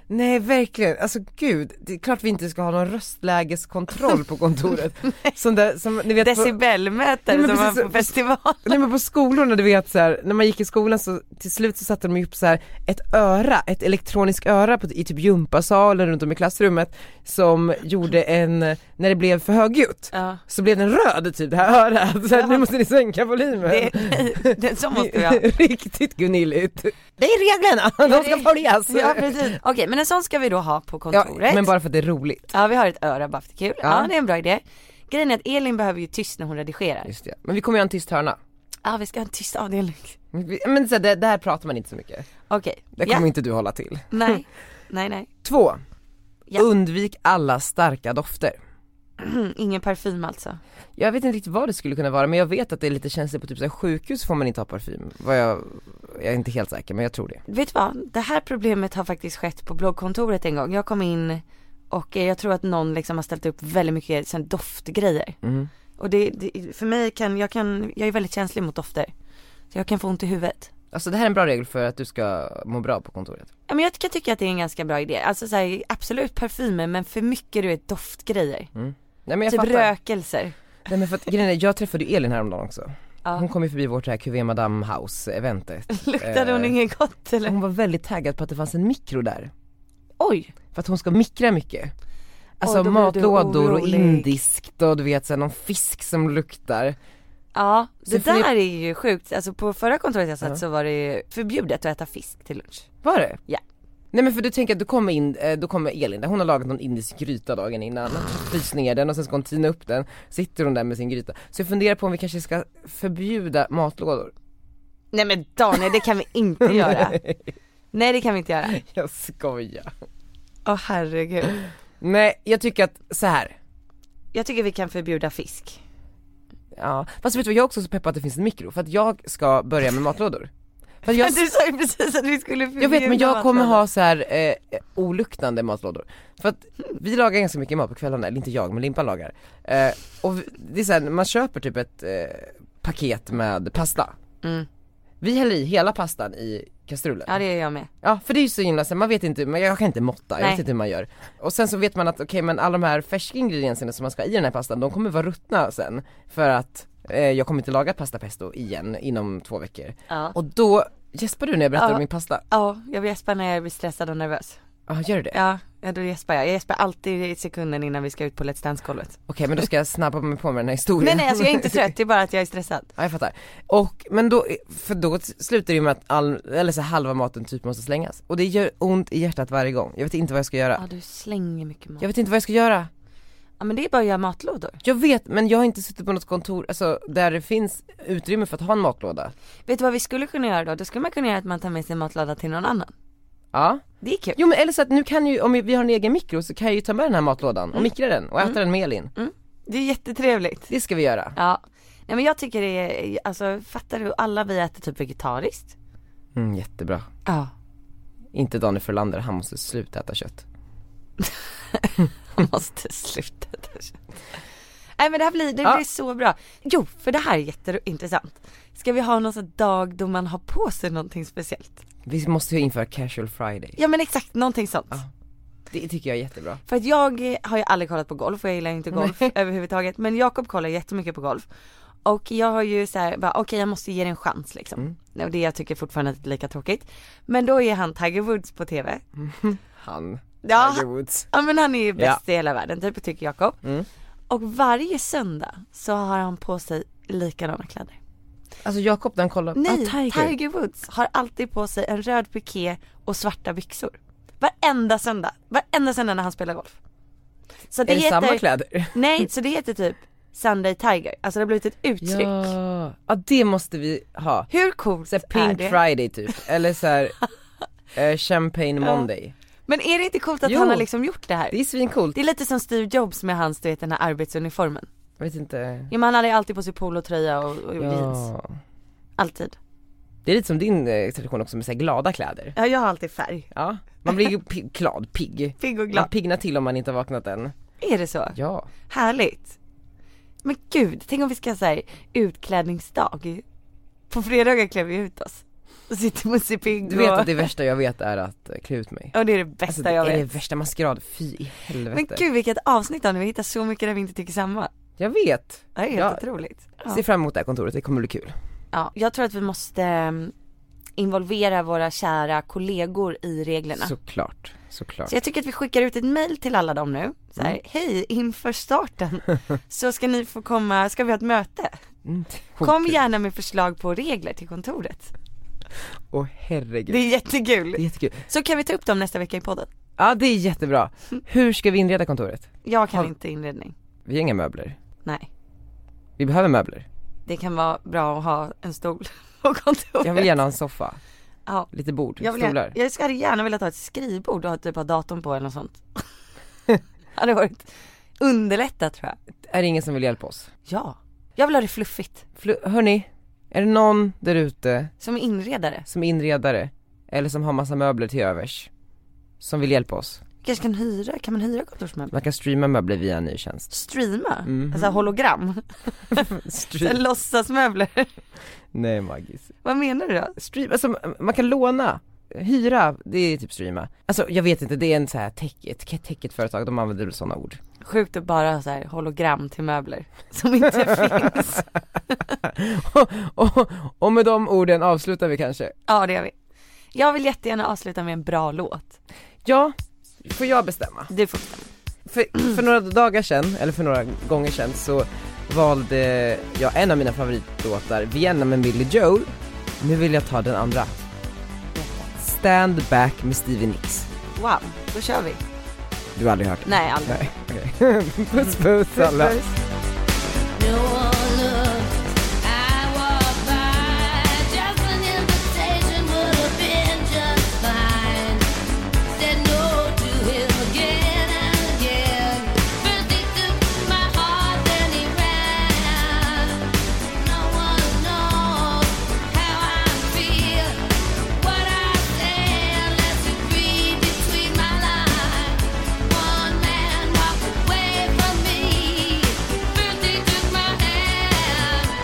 Speaker 1: Nej verkligen, alltså gud, det är klart vi inte ska ha någon röstlägeskontroll på kontoret Som där, som ni vet på,
Speaker 2: Decibelmätare
Speaker 1: Ja, men
Speaker 2: som man
Speaker 1: precis,
Speaker 2: på
Speaker 1: så-
Speaker 2: festival.
Speaker 1: Nej men på skolorna du vet så här, när man gick i skolan så till slut så satte de ju upp så här ett öra, ett elektroniskt öra på, i typ gympasalen runt om i klassrummet som gjorde en, när det blev för högljutt
Speaker 2: Ja.
Speaker 1: så blev den röd typ det här örat, så här, nu måste ni sänka volymen.
Speaker 2: Det, det, så måste vi ha.
Speaker 1: Riktigt Gunilligt. Det är reglerna, de ska följas.
Speaker 2: Ja, precis. Okej, men en sån ska vi då ha på
Speaker 1: Ja,
Speaker 2: kontoret.
Speaker 1: men bara för att det är roligt.
Speaker 2: Ja vi har ett öra bara för det är kul. Ja.
Speaker 1: Ja.
Speaker 2: det är en bra idé. Grejen är att Elin behöver ju tyst när hon redigerar.
Speaker 1: Just det. Men vi kommer göra en tyst hörna.
Speaker 2: Ja vi ska ha en tyst avdelning.
Speaker 1: Vi- Men så här, det, det här pratar man inte så mycket.
Speaker 2: Okej.
Speaker 1: Det kommer
Speaker 2: Ja.
Speaker 1: inte du hålla till.
Speaker 2: Nej. Nej nej.
Speaker 1: Två.
Speaker 2: Ja.
Speaker 1: Undvik alla starka dofter.
Speaker 2: Mm, ingen parfym alltså.
Speaker 1: Jag vet inte riktigt vad det skulle kunna vara men jag vet att det är lite känsligt på typ så här, sjukhus får man inte ha parfym. Vad jag, jag är inte helt säker men jag tror det.
Speaker 2: Vet du vad? Det här problemet har faktiskt skett på bloggkontoret en gång. Jag kom in och eh, jag tror att någon liksom har ställt upp väldigt mycket sån doftgrejer.
Speaker 1: Mm.
Speaker 2: Och det, det, för mig kan, jag kan, jag är väldigt känslig mot dofter. Så jag kan få ont i huvudet.
Speaker 1: Alltså det här är en bra regel för att du ska må bra på kontoret.
Speaker 2: Ja, men jag kan tycka att det är en ganska bra idé. Alltså så här, absolut parfymer men för mycket du vet doftgrejer.
Speaker 1: Nej men jag
Speaker 2: typ
Speaker 1: fattar.
Speaker 2: rökelser.
Speaker 1: Nej men för att grejen är, jag träffade ju Elin häromdagen också.
Speaker 2: Ja.
Speaker 1: Hon kom ju förbi vårt så här QV Madame House eventet.
Speaker 2: Luktade hon
Speaker 1: Eh,
Speaker 2: inget gott eller?
Speaker 1: Hon var väldigt taggad på att det fanns en mikro där.
Speaker 2: Oj!
Speaker 1: För att hon ska mikra mycket. Alltså
Speaker 2: Åh, då blir du
Speaker 1: matlådor och
Speaker 2: orolig.
Speaker 1: indiskt och du vet såhär någon fisk som luktar.
Speaker 2: Ja,
Speaker 1: Så
Speaker 2: det
Speaker 1: får ni-
Speaker 2: där är ju sjukt. Alltså på förra kontoret jag satt så var det ju förbjudet att äta fisk till lunch.
Speaker 1: Var det?
Speaker 2: Ja.
Speaker 1: Nej men för du tänker att du kommer in, eh, då kommer Elin där, hon har lagat någon indisk gryta dagen innan, fryst ner den och sen ska hon tina upp den, sitter hon där med sin gryta. Så jag funderar på om vi kanske ska förbjuda matlådor.
Speaker 2: Nej men Daniel det kan vi inte göra. Nej det kan vi inte göra.
Speaker 1: Jag skojar.
Speaker 2: Åh herregud.
Speaker 1: Nej jag tycker att så här.
Speaker 2: Jag tycker vi kan förbjuda fisk.
Speaker 1: ja fast vet du vad jag är också så peppad att det finns en mikro, för att jag ska börja med matlådor. För att jag,
Speaker 2: Men du sa ju precis att vi skulle förbjuda
Speaker 1: jag vet men jag kommer
Speaker 2: matlådor.
Speaker 1: ha så här eh, oluktande matlådor. För att vi lagar ganska mycket mat på kvällarna, eller inte jag men Limpan lagar. Eh, och vi- det är så här, man köper typ ett eh, paket med pasta.
Speaker 2: Mm.
Speaker 1: Vi häller i hela pastan i kastrullen.
Speaker 2: Ja det gör jag med.
Speaker 1: Ja för det är ju så himla så här, man vet inte, men jag kan inte måtta, jag
Speaker 2: Nej.
Speaker 1: vet inte hur man gör. Och sen så vet man att okej men alla de här färska ingredienserna som man ska ha i den här pastan, de kommer vara ruttna sen. För att eh, jag kommer inte laga pasta pesto igen inom två veckor.
Speaker 2: Ja.
Speaker 1: Och då gäspar du när jag berättar
Speaker 2: Ja.
Speaker 1: om min pasta?
Speaker 2: Ja, jag gäspar när jag blir stressad och nervös.
Speaker 1: Ja gör du det?
Speaker 2: Ja, ja, då gäspar jag. Jag gäspar alltid i sekunden innan vi ska ut på Let's Dance-golvet.
Speaker 1: Okej men då ska jag snabba mig på med den här historien.
Speaker 2: Nej nej alltså jag är inte trött, det är bara att jag är stressad.
Speaker 1: Ja jag fattar. Och, men då, för då slutar det ju med att all, eller så här, halva maten typ måste slängas. Och det gör ont i hjärtat varje gång. Jag vet inte vad jag ska göra.
Speaker 2: Ja du slänger mycket mat.
Speaker 1: Jag vet inte vad jag ska göra.
Speaker 2: Ja men det är bara att göra matlådor.
Speaker 1: Jag vet men jag har inte suttit på något kontor, alltså där det finns utrymme för att ha en matlåda.
Speaker 2: Vet du vad vi skulle kunna göra då? Då skulle man kunna göra att man tar med sig matlåda till någon annan.
Speaker 1: Ja.
Speaker 2: Det är kul.
Speaker 1: Jo men eller så att nu kan ju, om vi har en egen mikro så kan jag ju ta med den här matlådan
Speaker 2: Mm.
Speaker 1: och mikra den och äta den med Elin.
Speaker 2: Det är jättetrevligt.
Speaker 1: Det ska vi göra.
Speaker 2: Ja. Nej men jag tycker det är, alltså fattar du, alla vi äter typ vegetariskt.
Speaker 1: Mm, jättebra.
Speaker 2: Ja.
Speaker 1: Inte Daniel Frölander, han måste sluta äta kött.
Speaker 2: Måste sluta äta kött. Nej men det här blir, det
Speaker 1: Ja.
Speaker 2: blir så bra. Jo, för det här är jätteintressant. Ska vi ha någon sån dag då man har på sig någonting speciellt?
Speaker 1: Vi måste ju införa casual friday.
Speaker 2: Ja men exakt, någonting sånt.
Speaker 1: Det tycker jag är jättebra.
Speaker 2: För att jag eh, har ju aldrig kollat på golf och jag gillar inte golf överhuvudtaget. Men Jakob kollar jättemycket på golf. Och jag har ju så här, bara okej jag måste ge det en chans liksom.
Speaker 1: Mm.
Speaker 2: Och det jag tycker fortfarande är lika tråkigt. Men då är han Tiger Woods på TV.
Speaker 1: Han,
Speaker 2: Ja.
Speaker 1: Tiger Woods.
Speaker 2: Ja men han är ju bäst
Speaker 1: Ja. Mm.
Speaker 2: i hela världen typ tycker Jakob. Och varje söndag så har han på sig likadana kläder.
Speaker 1: Alltså Jakob den kollar,
Speaker 2: Nej,
Speaker 1: ah, Tiger.
Speaker 2: Tiger. Woods har alltid på sig en röd piké och svarta byxor. Varenda söndag, varenda söndag när han spelar golf. Så
Speaker 1: Är det samma kläder?
Speaker 2: Nej, så det heter typ Sunday Tiger, alltså det har blivit ett uttryck.
Speaker 1: Ja, ja det måste vi ha.
Speaker 2: Hur coolt
Speaker 1: Så här
Speaker 2: är
Speaker 1: Pink
Speaker 2: det?
Speaker 1: Friday typ, eller så här, eh, Champagne Monday.
Speaker 2: Men är det inte coolt att
Speaker 1: Jo.
Speaker 2: han har liksom gjort det här?
Speaker 1: Det är svincoolt.
Speaker 2: Det är lite som Steve Jobs med hans, du vet den här arbetsuniformen.
Speaker 1: Jag vet inte.
Speaker 2: Ja men han hade ju alltid på sig polotröja och, och jeans.
Speaker 1: Ja.
Speaker 2: Alltid.
Speaker 1: Det är lite som din eh, tradition också med så här glada kläder.
Speaker 2: Ja jag har alltid färg.
Speaker 1: Ja, man blir ju pi- glad, pigg.
Speaker 2: Pigg och
Speaker 1: Man
Speaker 2: glad.
Speaker 1: piggnar till om man inte har vaknat än.
Speaker 2: Är det så?
Speaker 1: Ja.
Speaker 2: Härligt. Men gud, tänk om vi ska säga utklädningsdag. På fredagar klär vi ut oss. Och sitter Musse Pigg
Speaker 1: Du vet
Speaker 2: och...
Speaker 1: att det värsta jag vet är att eh, klä ut mig.
Speaker 2: Ja det är det
Speaker 1: Alltså
Speaker 2: bästa
Speaker 1: det
Speaker 2: jag
Speaker 1: är det
Speaker 2: vet.
Speaker 1: värsta maskerad, fy i helvete.
Speaker 2: Men gud vilket avsnitt Daniel, vi hittar så mycket där vi inte tycker samma.
Speaker 1: Jag vet.
Speaker 2: Det är helt
Speaker 1: Ja.
Speaker 2: otroligt. Ja.
Speaker 1: Ser fram emot det här kontoret, det kommer bli kul.
Speaker 2: ja, jag tror att vi måste ehm, involvera våra kära kollegor i reglerna. Så.
Speaker 1: Såklart, såklart.
Speaker 2: jag tycker att vi skickar ut ett mail till alla dem nu. Så
Speaker 1: Mm.
Speaker 2: här, Hej, inför starten så ska ni få komma, ska vi ha ett möte?
Speaker 1: Mm.
Speaker 2: Kom gärna med förslag på regler till kontoret.
Speaker 1: Åh herregud.
Speaker 2: Det är
Speaker 1: Det är
Speaker 2: jättekul.
Speaker 1: jättekul.
Speaker 2: Så kan vi ta upp dem nästa vecka i podden.
Speaker 1: Ja det är jättebra. Hur ska vi inreda kontoret?
Speaker 2: Jag kan
Speaker 1: Har-
Speaker 2: inte inredning.
Speaker 1: Vi har inga möbler.
Speaker 2: Nej.
Speaker 1: Vi behöver möbler.
Speaker 2: Det kan vara bra att ha en stol på kontoret.
Speaker 1: Jag vill gärna ha en soffa,
Speaker 2: ja.
Speaker 1: lite bord,
Speaker 2: Jag, vill gärna,
Speaker 1: stolar.
Speaker 2: jag skulle gärna vilja ta ett skrivbord och ha typ ha datorn på eller något sånt. hade varit underlättat tror jag.
Speaker 1: Är det ingen som vill hjälpa oss?
Speaker 2: Ja. Jag vill ha det fluffigt.
Speaker 1: Fl- hörni, är det någon där ute
Speaker 2: Som inredare.
Speaker 1: som är inredare eller som har massa möbler till övers som vill hjälpa oss?
Speaker 2: Kanske kan hyra, kan man hyra kontorsmöbler?
Speaker 1: Man kan streama möbler via en ny tjänst.
Speaker 2: Streama?
Speaker 1: Mm.
Speaker 2: Alltså hologram?
Speaker 1: Stream.
Speaker 2: Låtsasmöbler?
Speaker 1: Nej Maggis.
Speaker 2: Vad menar du då?
Speaker 1: Stream, alltså man kan låna, hyra, det är typ streama. Alltså jag vet inte, det är en så här tech, ett, tech, ett företag, de använder väl sådana ord.
Speaker 2: Sjukt att bara ha så här hologram till möbler som inte finns.
Speaker 1: och, och med de orden avslutar vi kanske.
Speaker 2: Ja det gör vi. Jag vill jättegärna avsluta med en bra låt.
Speaker 1: Ja, får jag bestämma?
Speaker 2: Du får bestämma.
Speaker 1: För, för några dagar sedan, eller för några gånger sedan, så valde jag en av mina favoritlåtar, Vienna med Billy Joel. Nu vill jag ta den andra. Stand Back med Stevie Nicks.
Speaker 2: Wow, då kör vi.
Speaker 1: Du har aldrig hört den?
Speaker 2: Nej aldrig.
Speaker 1: Nej, okej. puss puss alla.
Speaker 4: No one looked. I walked by. Just an invitation would have been just fine. Said no to him again and again. First he took my heart, then he ran. No one knows how I feel, what I say, unless you read between my lines. One man walked away from me. First he took my hand.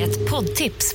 Speaker 5: Ett poddtips